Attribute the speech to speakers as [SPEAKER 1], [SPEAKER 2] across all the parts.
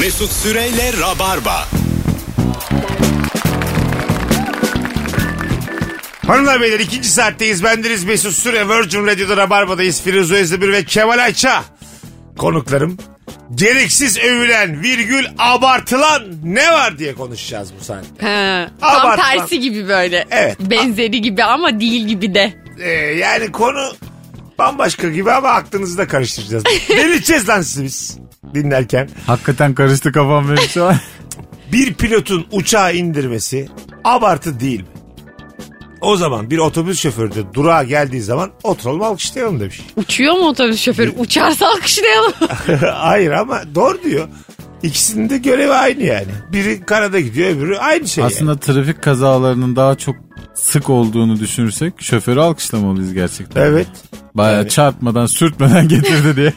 [SPEAKER 1] Mesut Süreyle Rabarba.
[SPEAKER 2] Hanımlar beyler ikinci saatteyiz. Bendeniz Mesut Süre Virgin Radio'da Rabarba'dayız. Firuze Özdemir ve Kemal Ayça. Konuklarım. Gereksiz övülen virgül abartılan ne var diye konuşacağız bu saatte.
[SPEAKER 3] Ha,
[SPEAKER 2] Abartma.
[SPEAKER 3] tam tersi gibi böyle.
[SPEAKER 2] Evet.
[SPEAKER 3] Benzeri gibi ama değil gibi de.
[SPEAKER 2] Ee, yani konu bambaşka gibi ama aklınızı da karıştıracağız. Delireceğiz lan sizi biz dinlerken.
[SPEAKER 4] Hakikaten karıştı kafam benim şu an.
[SPEAKER 2] bir pilotun uçağı indirmesi abartı değil mi? O zaman bir otobüs şoförü de durağa geldiği zaman oturalım alkışlayalım demiş.
[SPEAKER 3] Uçuyor mu otobüs şoförü? Uçarsa alkışlayalım.
[SPEAKER 2] Hayır ama doğru diyor. İkisinin de görevi aynı yani. Biri karada gidiyor öbürü aynı şey. yani.
[SPEAKER 4] Aslında trafik kazalarının daha çok sık olduğunu düşünürsek şoförü alkışlamalıyız gerçekten.
[SPEAKER 2] Evet.
[SPEAKER 4] Bayağı çarpmadan sürtmeden getirdi diye.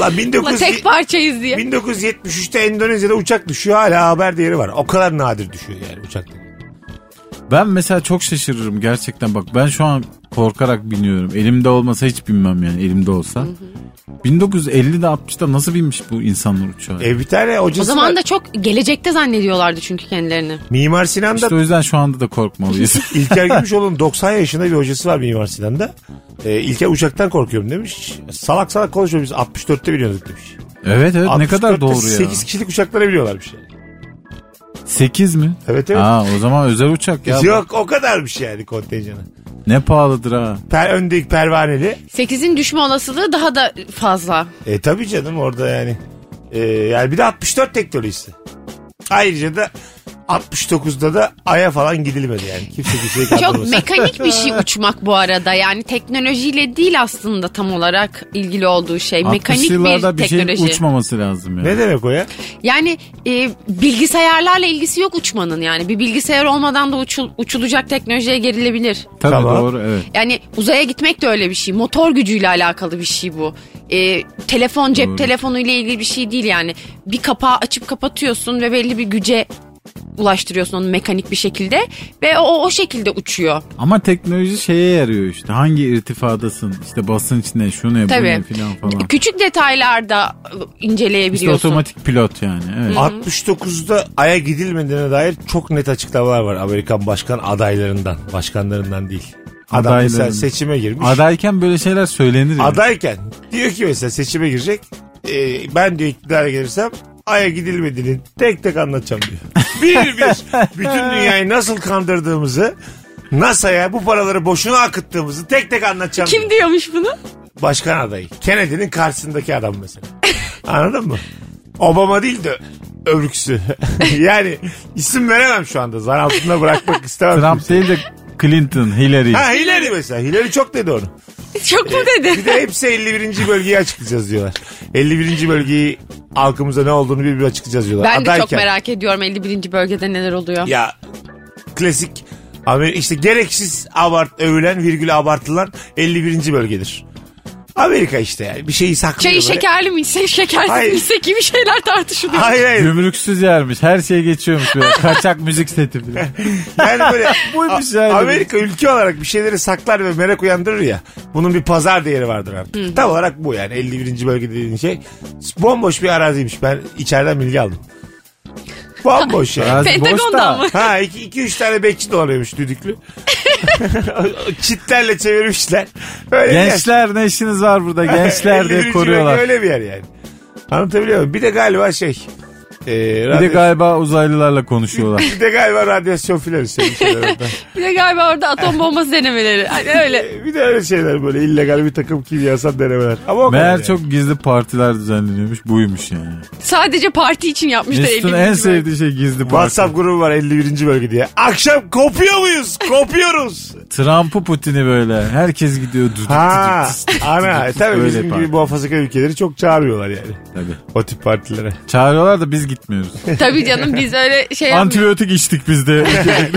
[SPEAKER 2] Lan 19...
[SPEAKER 3] Ulan tek parçayız diye.
[SPEAKER 2] 1973'te Endonezya'da uçak düşüyor hala haber değeri var. O kadar nadir düşüyor yani uçakta.
[SPEAKER 4] ben mesela çok şaşırırım gerçekten bak ben şu an korkarak biniyorum. Elimde olmasa hiç binmem yani elimde olsa. 1950'de 60'da nasıl binmiş bu insanlar uçağa?
[SPEAKER 2] E bir tane hocası
[SPEAKER 3] O zaman
[SPEAKER 2] var.
[SPEAKER 3] da çok gelecekte zannediyorlardı çünkü kendilerini.
[SPEAKER 2] Mimar Sinan'da
[SPEAKER 4] İşte o yüzden şu anda da korkmalıyız.
[SPEAKER 2] İlker Gümüşoğlu'nun 90 yaşında bir hocası var Mimar Sinan'da. E, İlker uçaktan korkuyorum demiş. Salak salak konuşuyor biz 64'te biliyorduk demiş.
[SPEAKER 4] evet evet ne kadar
[SPEAKER 2] 64'te
[SPEAKER 4] doğru ya.
[SPEAKER 2] 8
[SPEAKER 4] 8,
[SPEAKER 2] kişilik uçaklara biliyorlarmış. Yani.
[SPEAKER 4] mi?
[SPEAKER 2] Evet, evet.
[SPEAKER 4] Aa, o zaman özel uçak ya.
[SPEAKER 2] Yok o kadarmış yani kontenjanı.
[SPEAKER 4] Ne pahalıdır ha.
[SPEAKER 2] Per, öndeki pervaneli.
[SPEAKER 3] 8'in düşme olasılığı daha da fazla.
[SPEAKER 2] E tabii canım orada yani. E, yani bir de 64 teknolojisi. Ayrıca da 69'da da Ay'a falan gidilmedi yani. Kimse kimseyi
[SPEAKER 3] Çok
[SPEAKER 2] kandırmasın.
[SPEAKER 3] mekanik bir şey uçmak bu arada. Yani teknolojiyle değil aslında tam olarak ilgili olduğu şey.
[SPEAKER 4] 60
[SPEAKER 3] Mekanik
[SPEAKER 4] yıllarda
[SPEAKER 3] bir
[SPEAKER 2] şey
[SPEAKER 4] bir şeyin
[SPEAKER 3] teknoloji.
[SPEAKER 4] uçmaması lazım yani.
[SPEAKER 2] Ne demek o ya?
[SPEAKER 3] Yani e, bilgisayarlarla ilgisi yok uçmanın yani. Bir bilgisayar olmadan da uçul- uçulacak teknolojiye gerilebilir.
[SPEAKER 4] Tabii
[SPEAKER 2] Tamam.
[SPEAKER 4] doğru evet.
[SPEAKER 3] Yani uzaya gitmek de öyle bir şey. Motor gücüyle alakalı bir şey bu. E, telefon, cep
[SPEAKER 4] Doğru.
[SPEAKER 3] telefonu ile ilgili bir şey değil yani. Bir kapağı açıp kapatıyorsun ve belli bir güce ulaştırıyorsun onu mekanik bir şekilde ve o o şekilde uçuyor.
[SPEAKER 4] Ama teknoloji şeye yarıyor işte. Hangi irtifadasın? İşte basınç ne, şu ne, bu ne
[SPEAKER 3] Tabii.
[SPEAKER 4] filan falan.
[SPEAKER 3] Küçük detaylarda
[SPEAKER 4] İşte
[SPEAKER 3] inceleyebiliyorsun.
[SPEAKER 4] otomatik pilot yani. Evet.
[SPEAKER 2] 69'da Ay'a gidilmediğine dair çok net açıklamalar var Amerikan başkan adaylarından. Başkanlarından değil. Adam mesela
[SPEAKER 4] Adaylarından.
[SPEAKER 2] seçime girmiş.
[SPEAKER 4] Adayken böyle şeyler söylenir. ya.
[SPEAKER 2] Adayken diyor ki mesela seçime girecek. E, ben diyor iktidara gelirsem Ay'a gidilmediğini tek tek anlatacağım diyor. Bir bir bütün dünyayı nasıl kandırdığımızı NASA'ya bu paraları boşuna akıttığımızı tek tek anlatacağım.
[SPEAKER 3] Kim
[SPEAKER 2] diyor.
[SPEAKER 3] diyormuş bunu?
[SPEAKER 2] Başkan adayı. Kennedy'nin karşısındaki adam mesela. Anladın mı? Obama değil de öbürküsü. yani isim veremem şu anda. Zan altında bırakmak istemem.
[SPEAKER 4] Trump değil de Clinton, Hillary.
[SPEAKER 2] Ha Hillary mesela. Hillary çok dedi onu.
[SPEAKER 3] Çok mu
[SPEAKER 2] Bir
[SPEAKER 3] dedi?
[SPEAKER 2] de hepsi 51. bölgeyi açıklayacağız diyorlar. 51. bölgeyi halkımıza ne olduğunu bir bir açıklayacağız diyorlar.
[SPEAKER 3] Ben de çok
[SPEAKER 2] Adayken-
[SPEAKER 3] merak ediyorum 51. bölgede neler oluyor.
[SPEAKER 2] Ya klasik Amer- işte gereksiz abart övülen virgül abartılan 51. bölgedir. Amerika işte yani bir şeyi saklıyor.
[SPEAKER 3] Çayı
[SPEAKER 2] böyle.
[SPEAKER 3] şekerli mi içsek şekersiz
[SPEAKER 2] Hayır.
[SPEAKER 3] mi içsek gibi şeyler tartışılıyor.
[SPEAKER 2] Hayır hayır.
[SPEAKER 4] Gümrüksüz yermiş. Her şey geçiyormuş böyle. Kaçak müzik seti filan.
[SPEAKER 2] Yani böyle
[SPEAKER 4] Buymuş
[SPEAKER 2] A-
[SPEAKER 4] yani.
[SPEAKER 2] Amerika ülke olarak bir şeyleri saklar ve merak uyandırır ya. Bunun bir pazar değeri vardır artık. Tam olarak bu yani 51. bölge dediğin şey. Bomboş bir araziymiş. Ben içeriden bilgi aldım. Bomboş yani.
[SPEAKER 4] Arazi boş
[SPEAKER 3] Pentagon'dan
[SPEAKER 4] da.
[SPEAKER 3] mı?
[SPEAKER 2] ha 2-3 tane bekçi dolanıyormuş düdüklü. Çitlerle çevirmişler. Böyle bir yer.
[SPEAKER 4] Gençler ne işiniz var burada?
[SPEAKER 2] 51.
[SPEAKER 4] Gençler diye
[SPEAKER 2] bölge
[SPEAKER 4] koruyorlar.
[SPEAKER 2] Öyle bir yer yani. Anlatabiliyor muyum? Bir de galiba şey. E,
[SPEAKER 4] Bir de
[SPEAKER 2] radyo-
[SPEAKER 4] galiba uzaylılarla konuşuyorlar.
[SPEAKER 2] bir de galiba radyasyon filan işte. bir şeyler orada.
[SPEAKER 3] Bir de galiba orada atom bombası denemeleri. Hani öyle.
[SPEAKER 2] E, bir de öyle şeyler böyle illegal bir takım kimyasal denemeler. Ama o kadar
[SPEAKER 4] Meğer
[SPEAKER 2] yani.
[SPEAKER 4] çok gizli partiler düzenleniyormuş. Buymuş yani.
[SPEAKER 3] Sadece parti için yapmışlar
[SPEAKER 4] Mesut'un
[SPEAKER 3] 50.
[SPEAKER 4] en
[SPEAKER 3] bölge.
[SPEAKER 4] sevdiği şey gizli parti.
[SPEAKER 2] WhatsApp grubu var 51. bölge diye. Akşam kopuyor muyuz? Kopuyoruz.
[SPEAKER 4] Trump'ı Putin'i böyle. Herkes gidiyor. Duduk
[SPEAKER 2] ha
[SPEAKER 4] duduk tıs tıs
[SPEAKER 2] ana.
[SPEAKER 4] duduk tıs.
[SPEAKER 2] Tabii
[SPEAKER 4] Öyle
[SPEAKER 2] bizim
[SPEAKER 4] parti.
[SPEAKER 2] gibi muhafazakar ülkeleri çok çağırıyorlar yani.
[SPEAKER 4] Tabii.
[SPEAKER 2] O tip partilere.
[SPEAKER 4] Çağırıyorlar da biz gitmiyoruz.
[SPEAKER 3] Tabii canım biz öyle şey yapmıyoruz.
[SPEAKER 4] Antibiyotik içtik biz de.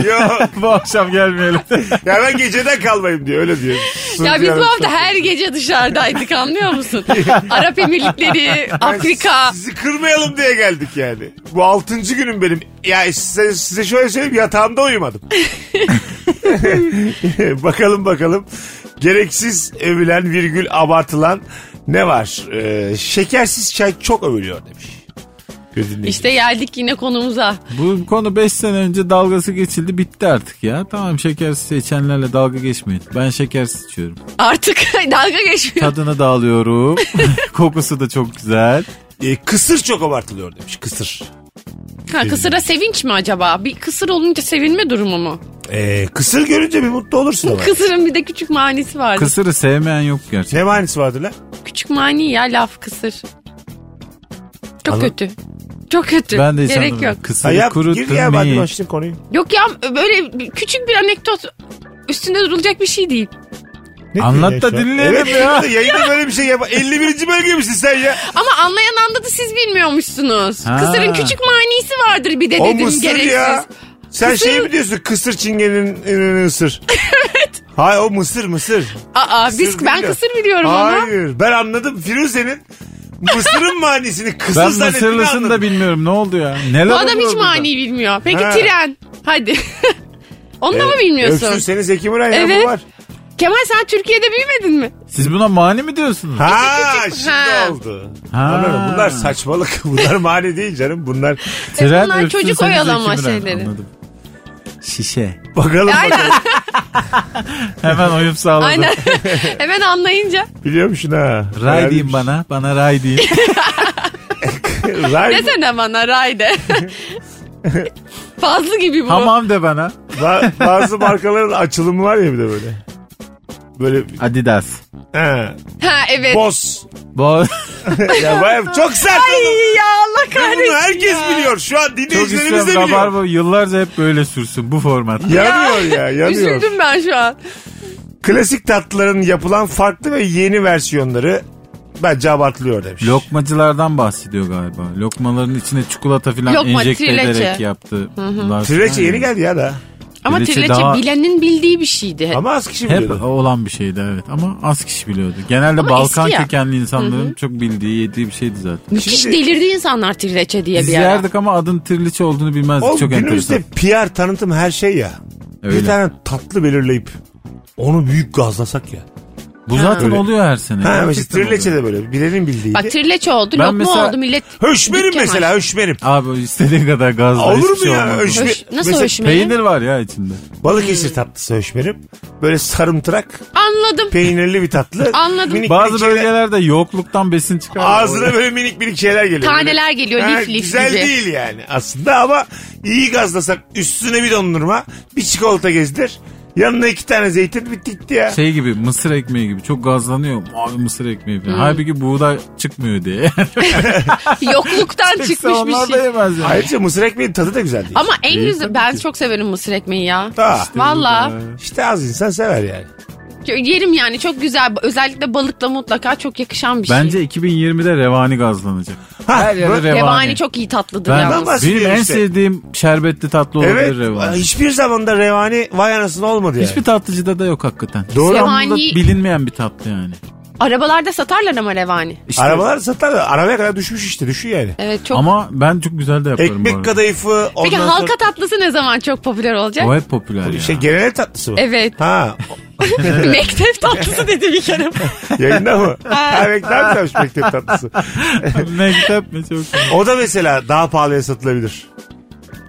[SPEAKER 2] Yok.
[SPEAKER 4] bu akşam gelmeyelim.
[SPEAKER 2] Ya ben geceden kalmayayım diyor. Öyle diyor. Suudi
[SPEAKER 3] Ya biz bu hafta
[SPEAKER 2] Arabistan.
[SPEAKER 3] her gece dışarıdaydık anlıyor musun? Arap Emirlikleri, Afrika.
[SPEAKER 2] Sizi kırmayalım diye geldik yani. Bu altıncı günüm benim. Ya size, size şöyle söyleyeyim yatağımda uyumadım. bakalım bakalım. Gereksiz övülen virgül abartılan ne var? Ee, şekersiz çay çok övülüyor demiş. Diyor dinleyici.
[SPEAKER 3] İşte geldik yine konumuza.
[SPEAKER 4] Bu konu 5 sene önce dalgası geçildi bitti artık ya. Tamam şekersiz içenlerle dalga geçmeyin. Ben şekersiz içiyorum.
[SPEAKER 3] Artık dalga geçmiyor.
[SPEAKER 4] Tadını da alıyorum. Kokusu da çok güzel.
[SPEAKER 2] E, kısır çok abartılıyor demiş. Kısır.
[SPEAKER 3] Ha, kısıra sevinç mi acaba? Bir kısır olunca sevinme durumu mu?
[SPEAKER 2] E, kısır görünce bir mutlu olursun ama.
[SPEAKER 3] Kısırın bir de küçük manisi vardı.
[SPEAKER 4] Kısırı sevmeyen yok gerçekten.
[SPEAKER 2] Ne manisi vardı lan?
[SPEAKER 3] Küçük mani ya laf kısır. Çok
[SPEAKER 2] Anla-
[SPEAKER 3] kötü. Çok kötü.
[SPEAKER 4] Ben de
[SPEAKER 3] Gerek
[SPEAKER 4] insanım.
[SPEAKER 3] yok.
[SPEAKER 2] Ha,
[SPEAKER 4] Kısırı
[SPEAKER 2] yap, gir ya ben de
[SPEAKER 4] kurutmayı.
[SPEAKER 2] başlayayım konuyu.
[SPEAKER 3] Yok ya böyle bir- küçük bir anekdot üstünde durulacak bir şey değil.
[SPEAKER 2] Ne
[SPEAKER 4] Anlat
[SPEAKER 2] diyorsun şu
[SPEAKER 4] da
[SPEAKER 2] an?
[SPEAKER 4] dinleyelim
[SPEAKER 2] Evet,
[SPEAKER 4] ya.
[SPEAKER 2] Yayında böyle bir şey yap. 51. bölge misin sen ya?
[SPEAKER 3] Ama anlayan anladı siz bilmiyormuşsunuz.
[SPEAKER 4] Ha.
[SPEAKER 3] Kısırın küçük manisi vardır bir de
[SPEAKER 2] O
[SPEAKER 3] dedim
[SPEAKER 2] mısır
[SPEAKER 3] gereksiz.
[SPEAKER 2] ya. Sen
[SPEAKER 3] Mısır-
[SPEAKER 2] şey mi diyorsun? Kısır çingenin ününü ısır. evet. Hayır o mısır mısır.
[SPEAKER 3] Aa,
[SPEAKER 2] Kısır
[SPEAKER 3] biz,
[SPEAKER 2] değil
[SPEAKER 3] ben
[SPEAKER 2] de.
[SPEAKER 3] kısır biliyorum ama.
[SPEAKER 2] Hayır ben anladım Firuze'nin mısırın manisini kısır
[SPEAKER 4] Ben
[SPEAKER 2] zannettiğini
[SPEAKER 4] mısırlısını da
[SPEAKER 2] anladım.
[SPEAKER 4] bilmiyorum ne oldu ya. Neler
[SPEAKER 3] Bu adam
[SPEAKER 4] oluyor
[SPEAKER 3] hiç
[SPEAKER 4] burada?
[SPEAKER 3] mani bilmiyor. Peki
[SPEAKER 2] Ha.
[SPEAKER 3] tren. Hadi. Onu da mı bilmiyorsun?
[SPEAKER 2] Öpsün seni Zeki Müren ya
[SPEAKER 3] Evet.
[SPEAKER 2] bu var.
[SPEAKER 3] Kemal sen Türkiye'de büyümedin mi?
[SPEAKER 4] Siz buna mani mi diyorsunuz?
[SPEAKER 2] Ha
[SPEAKER 3] küçük-
[SPEAKER 2] şimdi
[SPEAKER 3] Ha.
[SPEAKER 2] oldu.
[SPEAKER 4] Ha.
[SPEAKER 2] Anladın mı? Bunlar saçmalık. Bunlar mani değil canım. Bunlar
[SPEAKER 4] Tren
[SPEAKER 3] bunlar
[SPEAKER 4] öpsün
[SPEAKER 3] çocuk şey
[SPEAKER 4] seni
[SPEAKER 3] oyalama
[SPEAKER 4] Zeki Müren.
[SPEAKER 3] şeyleri.
[SPEAKER 4] Anladım. Şişe.
[SPEAKER 2] bakalım bakalım.
[SPEAKER 4] Hemen uyum sağladım.
[SPEAKER 3] Aynen. Hemen anlayınca.
[SPEAKER 2] Biliyormuşsun ha.
[SPEAKER 4] Ray deyin bana. Bana ray deyin.
[SPEAKER 2] şey- Ray,
[SPEAKER 3] Desene bana Rayde. Fazlı gibi bu.
[SPEAKER 4] Hamam de bana.
[SPEAKER 2] ba- bazı markaların açılımı var ya bir de böyle. Böyle
[SPEAKER 4] Adidas.
[SPEAKER 2] ha,
[SPEAKER 3] Ha evet.
[SPEAKER 2] boss.
[SPEAKER 4] Bu
[SPEAKER 2] Ya bayağı çok sert. oğlum.
[SPEAKER 3] Ay ya Allah kahretsin
[SPEAKER 2] Bunu herkes
[SPEAKER 3] ya.
[SPEAKER 2] biliyor. Şu an
[SPEAKER 4] çok
[SPEAKER 2] dinleyicilerimiz de
[SPEAKER 4] istiyorum.
[SPEAKER 2] biliyor.
[SPEAKER 4] Rabarba yıllarca hep böyle sürsün bu format.
[SPEAKER 2] Yanıyor ya yanıyor.
[SPEAKER 3] Üzüldüm ben şu an.
[SPEAKER 2] Klasik tatlıların yapılan farklı ve yeni versiyonları bence abartılıyor demiş.
[SPEAKER 4] Lokmacılardan bahsediyor galiba. Lokmaların içine çikolata falan
[SPEAKER 3] Lokma,
[SPEAKER 4] enjekte
[SPEAKER 3] trileçe.
[SPEAKER 4] ederek yaptı.
[SPEAKER 2] Trileçe yeni geldi ya da.
[SPEAKER 3] Ama
[SPEAKER 4] Trileçe
[SPEAKER 3] trileçe
[SPEAKER 4] daha-
[SPEAKER 3] bilenin bildiği bir şeydi.
[SPEAKER 2] Ama az kişi
[SPEAKER 4] Hep
[SPEAKER 2] biliyordu.
[SPEAKER 4] olan bir şeydi evet ama az kişi biliyordu. Genelde
[SPEAKER 3] Ama
[SPEAKER 4] Balkan
[SPEAKER 3] eski ya.
[SPEAKER 4] kökenli insanların çok bildiği yediği bir şeydi zaten.
[SPEAKER 3] Müthiş
[SPEAKER 2] Şimdi-
[SPEAKER 3] delirdi insanlar trileçe diye
[SPEAKER 4] Biz
[SPEAKER 3] bir ara.
[SPEAKER 4] yerdik ama adın trileçe olduğunu bilmezdik.
[SPEAKER 2] Oğlum
[SPEAKER 4] çok enteresan.
[SPEAKER 2] günümüzde PR tanıtım her şey ya.
[SPEAKER 4] Öyle.
[SPEAKER 2] Bir tane tatlı belirleyip onu büyük gazlasak ya.
[SPEAKER 4] Bu zaten
[SPEAKER 2] Öyle.
[SPEAKER 4] oluyor her sene.
[SPEAKER 2] Ha,
[SPEAKER 4] Gerçekten
[SPEAKER 2] mesela trileçe
[SPEAKER 4] oluyor.
[SPEAKER 2] de böyle. Bilenin bildiği.
[SPEAKER 3] Bak trileçe oldu,
[SPEAKER 4] Ben
[SPEAKER 3] lokma
[SPEAKER 4] mesela-
[SPEAKER 3] oldu millet.
[SPEAKER 2] Höşmerim
[SPEAKER 3] dükkan
[SPEAKER 2] mesela
[SPEAKER 3] açtı.
[SPEAKER 2] höşmerim.
[SPEAKER 4] Abi istediğin kadar gazla
[SPEAKER 2] Olur
[SPEAKER 4] hiçbir
[SPEAKER 2] mu
[SPEAKER 4] şey
[SPEAKER 2] ya? şey-
[SPEAKER 4] olmaz.
[SPEAKER 2] Höşme-
[SPEAKER 3] Höş- Nasıl Hmm.
[SPEAKER 2] Mesela
[SPEAKER 3] hoşuma
[SPEAKER 4] Peynir var ya içinde.
[SPEAKER 2] Balıkesir tatlısı höşmerim. Böyle sarımtırak
[SPEAKER 3] Anladım.
[SPEAKER 2] peynirli bir tatlı.
[SPEAKER 3] Anladım.
[SPEAKER 4] Bazı
[SPEAKER 2] minik şeyler-
[SPEAKER 4] bölgelerde yokluktan besin çıkar.
[SPEAKER 2] Ağzına böyle minik minik şeyler geliyor.
[SPEAKER 3] Taneler
[SPEAKER 2] Böyle-
[SPEAKER 3] geliyor,
[SPEAKER 2] Ha,
[SPEAKER 3] lif lif
[SPEAKER 2] Güzel
[SPEAKER 3] gibi.
[SPEAKER 2] değil yani aslında ama iyi gazlasak üstüne bir dondurma bir çikolata gezdir. Yanına iki tane zeytin bitti gitti ya.
[SPEAKER 4] Şey gibi mısır ekmeği gibi çok gazlanıyor. Abi mısır ekmeği
[SPEAKER 2] Hmm.
[SPEAKER 4] falan. Halbuki buğday çıkmıyor diye.
[SPEAKER 3] Yokluktan
[SPEAKER 4] Çıksa
[SPEAKER 3] çıkmış
[SPEAKER 4] onlar
[SPEAKER 3] bir
[SPEAKER 4] da
[SPEAKER 3] şey.
[SPEAKER 4] yemez yani.
[SPEAKER 2] Ayrıca mısır ekmeğinin tadı da güzel değil.
[SPEAKER 3] Ama en
[SPEAKER 4] İyi,
[SPEAKER 3] güzel,
[SPEAKER 4] tabii
[SPEAKER 3] ben
[SPEAKER 4] ki. Ah,
[SPEAKER 3] çok severim mısır ekmeği ya.
[SPEAKER 2] Da.
[SPEAKER 3] Valla
[SPEAKER 4] Ee,
[SPEAKER 2] İşte az insan sever yani.
[SPEAKER 3] yerim yani çok güzel özellikle balıkla mutlaka çok yakışan bir şey.
[SPEAKER 4] Bence 2020'de revani gazlanacak.
[SPEAKER 2] Ha,
[SPEAKER 4] Her yerde
[SPEAKER 2] bak-
[SPEAKER 4] revani.
[SPEAKER 3] Revani çok iyi tatlıdır
[SPEAKER 4] Ben,
[SPEAKER 2] Ondan
[SPEAKER 3] yalnız.
[SPEAKER 2] bahsediyorum
[SPEAKER 4] benim en
[SPEAKER 2] işte.
[SPEAKER 4] sevdiğim şerbetli tatlı olabilir
[SPEAKER 2] Evet.
[SPEAKER 4] revani.
[SPEAKER 2] Hiçbir zamanda revani vay anasını olmadı yani.
[SPEAKER 4] Hiçbir tatlıcıda da yok hakikaten.
[SPEAKER 2] Doğru.
[SPEAKER 4] İstanbul'da
[SPEAKER 3] Revani-
[SPEAKER 4] bilinmeyen bir tatlı yani.
[SPEAKER 3] Arabalarda satarlar ama revani.
[SPEAKER 4] İşte-
[SPEAKER 2] Arabalar satar da arabaya kadar düşmüş işte düşüyor yani.
[SPEAKER 3] Evet çok.
[SPEAKER 4] Ama ben çok güzel de yaparım bu
[SPEAKER 2] Ekmek
[SPEAKER 4] arada.
[SPEAKER 2] kadayıfı ondan
[SPEAKER 3] Peki halka
[SPEAKER 2] sonra...
[SPEAKER 3] tatlısı ne zaman çok popüler olacak?
[SPEAKER 4] O hep popüler ya.
[SPEAKER 2] Şey genel tatlısı mı?
[SPEAKER 3] Evet.
[SPEAKER 2] Ha
[SPEAKER 3] Mektep tatlısı dedi bir kere.
[SPEAKER 2] yayında mı? ha mektep tatlısı, mektep tatlısı.
[SPEAKER 4] Mektep mi çok güzel.
[SPEAKER 2] O da mesela daha pahalıya satılabilir.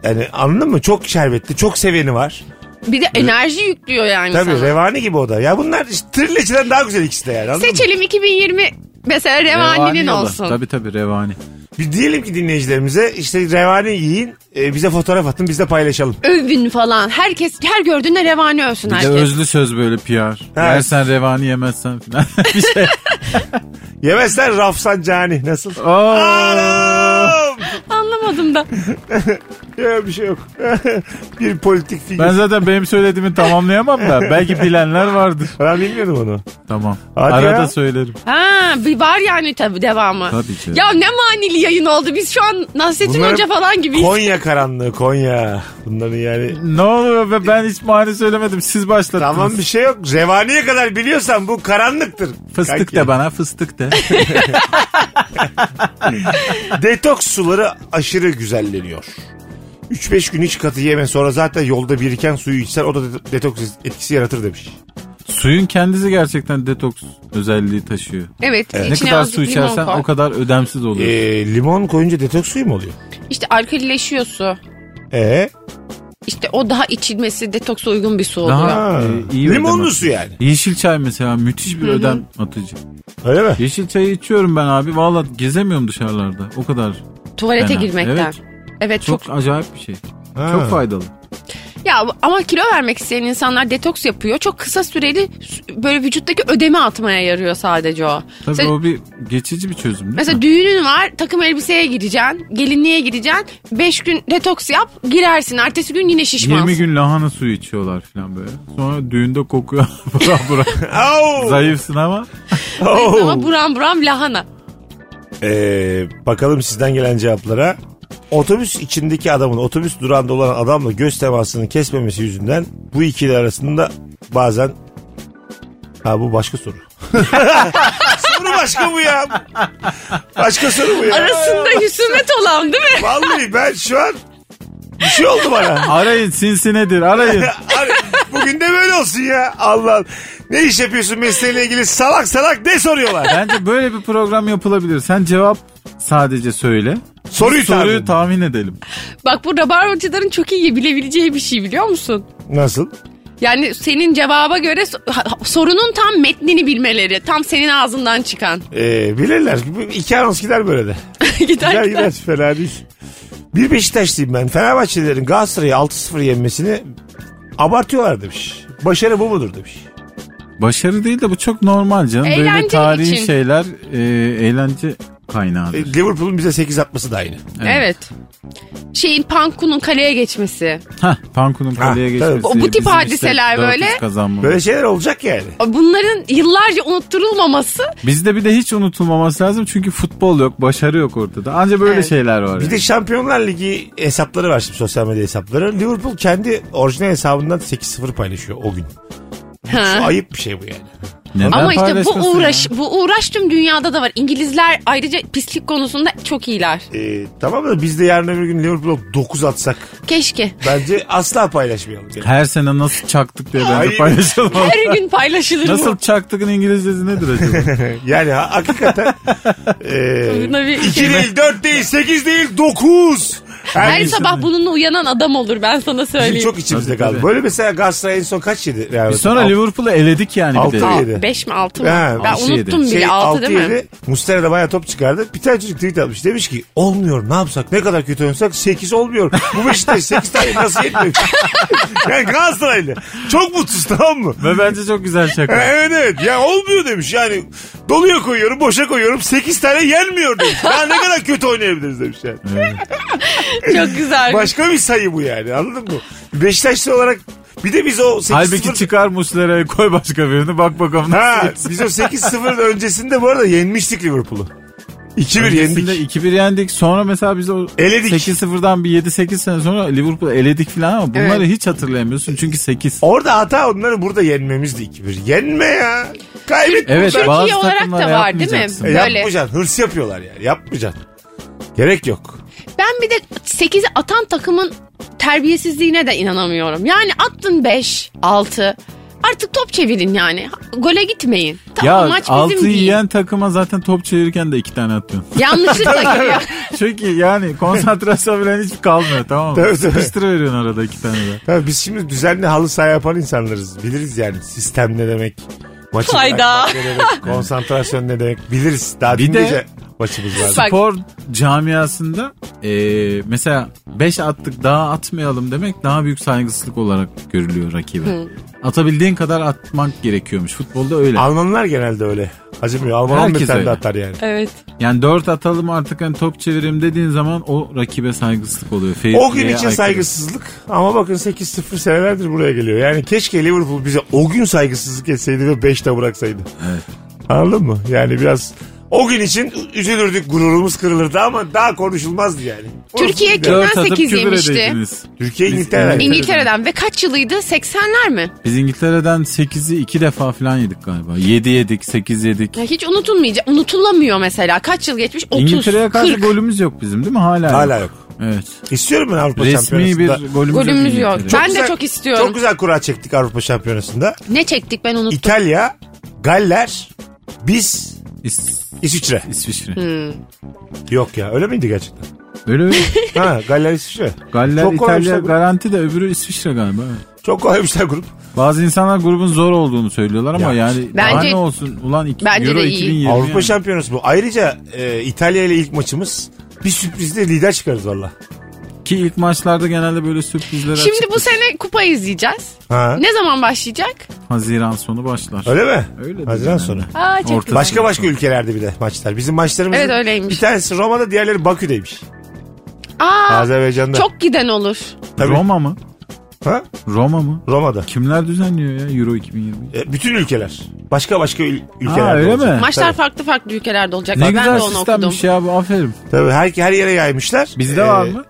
[SPEAKER 2] Yani anladın mı? Çok şerbetli, çok seveni var.
[SPEAKER 3] Bir de enerji yüklüyor yani
[SPEAKER 2] Tabii
[SPEAKER 3] sana.
[SPEAKER 2] revani gibi o da. Ya bunlar işte, trileçeden daha güzel ikisi de yani. anladın mı?
[SPEAKER 3] Seçelim 2020 mesela revaninin
[SPEAKER 4] yola.
[SPEAKER 3] olsun.
[SPEAKER 4] Tabii tabii revani.
[SPEAKER 2] Bir diyelim ki dinleyicilerimize işte revani yiyin, e, bize fotoğraf atın, biz de paylaşalım.
[SPEAKER 3] Övün falan. Herkes her gördüğünde revani övsün
[SPEAKER 4] Bir de
[SPEAKER 3] herkes.
[SPEAKER 4] özlü söz böyle PR. Yersen revani yemezsen falan. bir şey.
[SPEAKER 2] Yemezler Rafsancani. Nasıl?
[SPEAKER 4] Oo.
[SPEAKER 2] Oğlum!
[SPEAKER 3] Anlamadım da.
[SPEAKER 2] Ya bir şey yok. bir politik figür.
[SPEAKER 4] Ben
[SPEAKER 2] Ben,
[SPEAKER 4] zaten benim söylediğimi tamamlayamam da. Belki bilenler vardır.
[SPEAKER 2] bilmiyordum onu.
[SPEAKER 4] Tamam.
[SPEAKER 2] Hadi
[SPEAKER 4] Arada
[SPEAKER 2] ya.
[SPEAKER 4] söylerim.
[SPEAKER 3] Ha, bir var yani tabii devamı.
[SPEAKER 4] Tabii ki.
[SPEAKER 3] Ya ne manili yayın oldu. Biz şu an Nasrettin
[SPEAKER 2] Bunlar
[SPEAKER 3] Hoca falan gibiyiz.
[SPEAKER 2] Konya karanlığı Konya. Bunların yani...
[SPEAKER 4] Ne oluyor be ben hiç mani söylemedim. Siz başlattınız.
[SPEAKER 2] Tamam bir şey yok. Revaniye kadar biliyorsan bu karanlıktır.
[SPEAKER 4] Fıstık
[SPEAKER 2] Kanki.
[SPEAKER 4] de bana fıstık de.
[SPEAKER 2] Detoks suları aşırı güzelleniyor. 3-5 gün hiç katı yeme sonra zaten yolda biriken suyu içsen o da det- detoks etkisi yaratır demiş.
[SPEAKER 4] Suyun kendisi gerçekten detoks özelliği taşıyor.
[SPEAKER 3] Evet.
[SPEAKER 4] Ne
[SPEAKER 3] içine
[SPEAKER 4] kadar
[SPEAKER 3] azıcık
[SPEAKER 4] su
[SPEAKER 3] limon
[SPEAKER 4] içersen
[SPEAKER 3] koy.
[SPEAKER 4] o kadar ödemsiz oluyor.
[SPEAKER 2] Ee, limon koyunca detoks suyu mu oluyor?
[SPEAKER 3] İşte alkalileşiyor su.
[SPEAKER 2] Ee,
[SPEAKER 3] İşte o daha içilmesi detoksa uygun bir su oluyor.
[SPEAKER 4] Daha
[SPEAKER 2] Ha.
[SPEAKER 4] e, iyi
[SPEAKER 2] Limonlu
[SPEAKER 4] ödem
[SPEAKER 2] su yani.
[SPEAKER 4] Yeşil çay mesela müthiş bir ödem atıcı.
[SPEAKER 2] öyle mi?
[SPEAKER 4] Yeşil çayı içiyorum ben abi. Valla gezemiyorum dışarılarda. O kadar.
[SPEAKER 3] Tuvalete
[SPEAKER 4] Fena.
[SPEAKER 3] girmekten.
[SPEAKER 4] Evet.
[SPEAKER 3] Evet.
[SPEAKER 4] Çok,
[SPEAKER 3] çok,
[SPEAKER 4] acayip bir şey.
[SPEAKER 2] Ha.
[SPEAKER 4] Çok faydalı.
[SPEAKER 3] ya ama kilo vermek isteyen insanlar detoks yapıyor. Çok kısa süreli s- böyle vücuttaki ödemi atmaya yarıyor sadece o.
[SPEAKER 4] Tabii
[SPEAKER 3] Sen-
[SPEAKER 4] o bir geçici bir çözüm. değil
[SPEAKER 3] Mesela
[SPEAKER 4] mi?
[SPEAKER 3] düğünün var takım elbiseye gireceksin, gelinliğe gireceksin. 5 gün detoks yap girersin. Ertesi gün yine şişmansın.
[SPEAKER 4] 20 gün lahana suyu içiyorlar falan böyle. Sonra düğünde kokuyor. bura bura.
[SPEAKER 2] Au!
[SPEAKER 4] Zayıfsın ama.
[SPEAKER 2] Au!
[SPEAKER 3] Ama buram buram lahana.
[SPEAKER 2] Ee, bakalım sizden gelen cevaplara. Otobüs içindeki adamın otobüs durağında olan adamla göz temasını kesmemesi yüzünden bu ikili arasında bazen ha bu başka soru. soru başka bu ya. Başka soru bu ya.
[SPEAKER 3] Arasında husumet olan değil mi?
[SPEAKER 2] Vallahi ben şu an bir şey oldu bana.
[SPEAKER 4] Arayın sinsi nedir arayın.
[SPEAKER 2] Abi, Bugün de böyle olsun ya. Allah Allah. Ne iş yapıyorsun mesleğinle ilgili salak salak ne soruyorlar?
[SPEAKER 4] Bence böyle bir program yapılabilir. Sen cevap sadece söyle.
[SPEAKER 2] Soruyu,
[SPEAKER 4] Soruyu
[SPEAKER 2] Soruyu
[SPEAKER 4] tahmin edelim.
[SPEAKER 3] Bak bu rabarbacıların çok iyi bilebileceği bir şey biliyor musun?
[SPEAKER 2] Nasıl?
[SPEAKER 3] Yani senin cevaba göre so- ha- sorunun tam metnini bilmeleri. Tam senin ağzından çıkan.
[SPEAKER 2] Ee, bilirler. İki anons gider böyle de.
[SPEAKER 3] gider
[SPEAKER 2] Gider
[SPEAKER 3] gider.
[SPEAKER 2] gider fena değil. Bir Beşiktaşlıyım ben. Fenerbahçelilerin Galatasaray'ı 6-0 yenmesini abartıyorlar demiş. Başarı bu mudur demiş.
[SPEAKER 4] Başarı değil de bu çok normal canım. Böyle
[SPEAKER 3] Eğlence
[SPEAKER 4] tarihi
[SPEAKER 3] için.
[SPEAKER 4] şeyler e, eğlence kaynağı.
[SPEAKER 2] E, Liverpool'un bize 8 atması da aynı.
[SPEAKER 3] Evet. Şeyin Panku'nun kaleye geçmesi.
[SPEAKER 4] Hah, Panku'nun kaleye
[SPEAKER 2] E, tabii.
[SPEAKER 4] geçmesi.
[SPEAKER 3] O- bu tip
[SPEAKER 4] bizim
[SPEAKER 3] hadiseler
[SPEAKER 4] işte 400
[SPEAKER 3] böyle.
[SPEAKER 4] kazanmamız.
[SPEAKER 2] Böyle şeyler olacak yani.
[SPEAKER 3] Bunların yıllarca unutturulmaması
[SPEAKER 4] Bizde bir de hiç unutulmaması lazım çünkü futbol yok, başarı yok ortada. Anca böyle
[SPEAKER 3] Evet.
[SPEAKER 4] şeyler var.
[SPEAKER 2] Bir de
[SPEAKER 4] yani.
[SPEAKER 2] Şampiyonlar Ligi hesapları var şimdi sosyal medya hesapları. Liverpool kendi orijinal hesabından 8-0 paylaşıyor o gün.
[SPEAKER 3] Ha.
[SPEAKER 2] Şu ayıp bir şey bu yani.
[SPEAKER 4] Neden
[SPEAKER 3] Ama işte bu
[SPEAKER 4] paylaşmasın
[SPEAKER 3] uğraş,
[SPEAKER 4] ya?
[SPEAKER 3] bu uğraş tüm dünyada da var. İngilizler ayrıca pislik konusunda çok iyiler.
[SPEAKER 2] E, tamam da biz de yarın öbür gün Liverpool'a 9 atsak
[SPEAKER 3] Keşke.
[SPEAKER 2] bence asla paylaşmayalım. Yani.
[SPEAKER 4] Her sene nasıl çaktık diye bence
[SPEAKER 2] Hayır.
[SPEAKER 4] paylaşalım.
[SPEAKER 3] Her gün paylaşılır
[SPEAKER 4] nasıl
[SPEAKER 3] bu.
[SPEAKER 4] çaktıkın İngilizcesi nedir acaba?
[SPEAKER 2] Yani ha- hakikaten e,
[SPEAKER 3] Buna bir- şey.
[SPEAKER 2] 2 değil 4 değil 8 değil 9.
[SPEAKER 3] Her sabah bununla uyanan adam olur ben sana
[SPEAKER 2] Bizim
[SPEAKER 3] söyleyeyim.
[SPEAKER 2] çok içimizde
[SPEAKER 4] Tabii,
[SPEAKER 2] kaldı.
[SPEAKER 4] tabii.
[SPEAKER 2] Böyle mesela Galatasaray en son kaç yedi? Real
[SPEAKER 4] Biz sonra
[SPEAKER 2] Madrid?
[SPEAKER 4] Liverpool'u eledik yani bir de.
[SPEAKER 2] Altı-
[SPEAKER 3] Aa,
[SPEAKER 2] yedi.
[SPEAKER 3] beş mi altı mı?
[SPEAKER 2] Ha,
[SPEAKER 3] ben
[SPEAKER 4] altı,
[SPEAKER 3] unuttum
[SPEAKER 2] Alt-
[SPEAKER 3] bile altı değil mi?
[SPEAKER 2] şey, yedi. Muslera da bayağı top çıkardı. Bir tane çocuk tweet atmış. Demiş ki olmuyor ne yapsak ne kadar kötü oynasak 8 olmuyor. Bu Beşiktaş 8 tane nasıl yetmiyor? yani Galatasaraylı. Çok mutsuz tamam mı? E,
[SPEAKER 4] Ve bence çok güzel şaka.
[SPEAKER 2] Evet evet ya olmuyor demiş yani doluya koyuyorum boşa koyuyorum 8 tane yenmiyor demiş. Ya ne kadar kötü oynayabiliriz demiş yani.
[SPEAKER 3] Çok güzel.
[SPEAKER 2] Başka bir sayı bu yani anladın mı? Beşiktaşlı olarak bir de biz o 8
[SPEAKER 4] Halbuki çıkar Muslera'yı koy başka birini bak bakalım nasıl
[SPEAKER 2] Ha,
[SPEAKER 4] geçsin.
[SPEAKER 2] biz o 8-0 öncesinde bu arada yenmiştik Liverpool'u. 2-1
[SPEAKER 4] Öncesinde
[SPEAKER 2] yendik.
[SPEAKER 4] 2-1 yendik. Sonra mesela biz o
[SPEAKER 2] Eledik.
[SPEAKER 4] 8-0'dan bir 7-8 sene sonra Liverpool'u eledik falan ama bunları hiç hatırlayamıyorsun çünkü 8.
[SPEAKER 2] Orada hata onları burada yenmemizdi 2-1. Yenme ya. Kaybet.
[SPEAKER 4] Evet
[SPEAKER 3] Türkiye
[SPEAKER 4] bazı
[SPEAKER 3] olarak da
[SPEAKER 4] takımlara
[SPEAKER 3] var, değil mi?
[SPEAKER 4] yapmayacaksın.
[SPEAKER 2] E,
[SPEAKER 3] böyle.
[SPEAKER 2] Yapmayacaksın. Hırs yapıyorlar yani. Yapmayacaksın. Gerek yok.
[SPEAKER 3] Ben bir de 8'i atan takımın terbiyesizliğine de inanamıyorum. Yani attın 5, 6. Artık top çevirin yani. Gole gitmeyin. Tamam
[SPEAKER 4] Ya
[SPEAKER 3] maç bizim
[SPEAKER 4] 6
[SPEAKER 3] değil.
[SPEAKER 4] yiyen takıma zaten top çevirirken de 2 tane atıyorsun.
[SPEAKER 3] Yanlışlıkla giriyor.
[SPEAKER 4] Çünkü yani konsantrasyon falan hiç kalmıyor tamam mı?
[SPEAKER 2] Tabii, tabii.
[SPEAKER 4] Sıkıştırıveriyorsun arada 2 tane de.
[SPEAKER 2] Ya biz şimdi düzenli halı saha yapan insanlarız. Biliriz yani sistem ne demek. Maçı
[SPEAKER 3] Hayda.
[SPEAKER 2] bırakmak ne demek. Konsantrasyon ne demek. Biliriz. Daha
[SPEAKER 4] Bir
[SPEAKER 2] dün
[SPEAKER 4] de-
[SPEAKER 2] gece maçımız vardı.
[SPEAKER 3] Bak.
[SPEAKER 4] Spor camiasında eee, mesela 5 attık daha atmayalım demek daha büyük saygısızlık olarak görülüyor rakibe. Atabildiğin kadar atmak gerekiyormuş. Futbolda öyle.
[SPEAKER 2] Almanlar genelde öyle. Acımıyor. Alman
[SPEAKER 4] Herkes
[SPEAKER 2] 11 tane de
[SPEAKER 4] öyle.
[SPEAKER 2] atar yani.
[SPEAKER 3] Evet.
[SPEAKER 4] Yani 4 atalım artık hani top çevirim dediğin zaman o rakibe saygısızlık oluyor. Fair
[SPEAKER 2] O gün
[SPEAKER 4] play'e
[SPEAKER 2] için
[SPEAKER 4] aykırı.
[SPEAKER 2] saygısızlık ama bakın 8-0 senelerdir buraya geliyor. Yani keşke Liverpool bize o gün saygısızlık etseydi ve 5'te bıraksaydı. Anladın mı? Yani biraz o gün için üzülürdük gururumuz kırılırdı ama daha konuşulmazdı yani. Orası
[SPEAKER 3] Türkiye
[SPEAKER 2] bir de-
[SPEAKER 3] kim?
[SPEAKER 4] Dört
[SPEAKER 3] Kimden
[SPEAKER 4] atıp
[SPEAKER 3] sekiz
[SPEAKER 4] küfür
[SPEAKER 3] yemişti?
[SPEAKER 4] edeydiniz.
[SPEAKER 2] Türkiye
[SPEAKER 4] Biz-
[SPEAKER 2] İngiltere'den.
[SPEAKER 4] İngil-
[SPEAKER 3] İngiltere'den ve kaç yılıydı? 80'ler mi?
[SPEAKER 4] Biz İngiltere'den 8'i 2 defa falan yedik galiba. 7 yedik 8 yedik.
[SPEAKER 3] Ya hiç unutulmayacak. Unutulamıyor mesela. Kaç yıl geçmiş? 30,
[SPEAKER 4] İngiltere'ye karşı
[SPEAKER 3] 40.
[SPEAKER 4] golümüz yok bizim değil mi? Hala,
[SPEAKER 2] Hala yok.
[SPEAKER 4] Evet.
[SPEAKER 2] İstiyorum ben Avrupa
[SPEAKER 4] Resmi bir
[SPEAKER 2] Şampiyonası'nda.
[SPEAKER 4] golümüz,
[SPEAKER 3] Golümüz yok.
[SPEAKER 4] İngiltere'de.
[SPEAKER 3] Ben de çok istiyorum.
[SPEAKER 2] Çok güzel kura çektik Avrupa Şampiyonası'nda.
[SPEAKER 3] Ne çektik ben unuttum.
[SPEAKER 2] İtalya, Galler, biz,
[SPEAKER 4] İs-
[SPEAKER 2] İsviçre.
[SPEAKER 4] İsviçre.
[SPEAKER 3] Hmm.
[SPEAKER 2] Yok ya öyle miydi gerçekten?
[SPEAKER 4] Böyle mi?
[SPEAKER 2] ha Galler, İsviçre.
[SPEAKER 4] Galler
[SPEAKER 2] Çok
[SPEAKER 4] İtalya
[SPEAKER 2] kolaymışlar grup.
[SPEAKER 4] garanti de öbürü İsviçre galiba. evet.
[SPEAKER 2] Çok şey kolaymışlar grup.
[SPEAKER 4] Bazı insanlar grubun zor olduğunu söylüyorlar ama
[SPEAKER 2] Ya.
[SPEAKER 4] yani
[SPEAKER 3] Bence-
[SPEAKER 4] daha ne olsun ulan iki,
[SPEAKER 3] Bence de
[SPEAKER 4] Euro
[SPEAKER 3] iyi.
[SPEAKER 4] 2020
[SPEAKER 2] Avrupa
[SPEAKER 4] yani.
[SPEAKER 2] Şampiyonası bu. Ayrıca e, İtalya ile ilk maçımız bir sürprizle lider çıkarız valla.
[SPEAKER 4] ki ilk maçlarda genelde böyle sürprizler
[SPEAKER 3] Şimdi
[SPEAKER 4] açık.
[SPEAKER 3] bu sene kupa izleyeceğiz.
[SPEAKER 2] Ha.
[SPEAKER 3] Ne zaman başlayacak?
[SPEAKER 4] Haziran sonu başlar.
[SPEAKER 2] Öyle mi?
[SPEAKER 4] Öyle
[SPEAKER 2] Haziran
[SPEAKER 4] dedi
[SPEAKER 2] sonu.
[SPEAKER 4] yani.
[SPEAKER 3] Aa, çok
[SPEAKER 4] Orta-
[SPEAKER 3] güzel.
[SPEAKER 2] Başka başka ülkelerde bir de maçlar. Bizim maçlarımızın
[SPEAKER 3] Evet, öyleymiş.
[SPEAKER 2] bir tanesi Roma'da diğerleri Bakü'deymiş.
[SPEAKER 3] Aa,
[SPEAKER 2] Azerbaycan'da.
[SPEAKER 3] çok giden olur.
[SPEAKER 2] Tabii.
[SPEAKER 4] Roma mı?
[SPEAKER 2] Ha?
[SPEAKER 4] Roma mı?
[SPEAKER 2] Roma'da.
[SPEAKER 4] Kimler düzenliyor ya Euro 2020?
[SPEAKER 2] E, bütün ülkeler. Başka başka ül- ülkelerde.
[SPEAKER 4] Aa, öyle
[SPEAKER 2] olacak.
[SPEAKER 4] mi?
[SPEAKER 3] Maçlar
[SPEAKER 2] Tabii.
[SPEAKER 3] farklı farklı ülkelerde olacak.
[SPEAKER 4] Ne
[SPEAKER 3] ben
[SPEAKER 4] güzel
[SPEAKER 3] de
[SPEAKER 4] şey.
[SPEAKER 3] onu okudum.
[SPEAKER 4] sistemmiş ya bu aferin.
[SPEAKER 2] Tabii her, her yere yaymışlar.
[SPEAKER 4] Bizde
[SPEAKER 2] Ee,
[SPEAKER 4] var mı?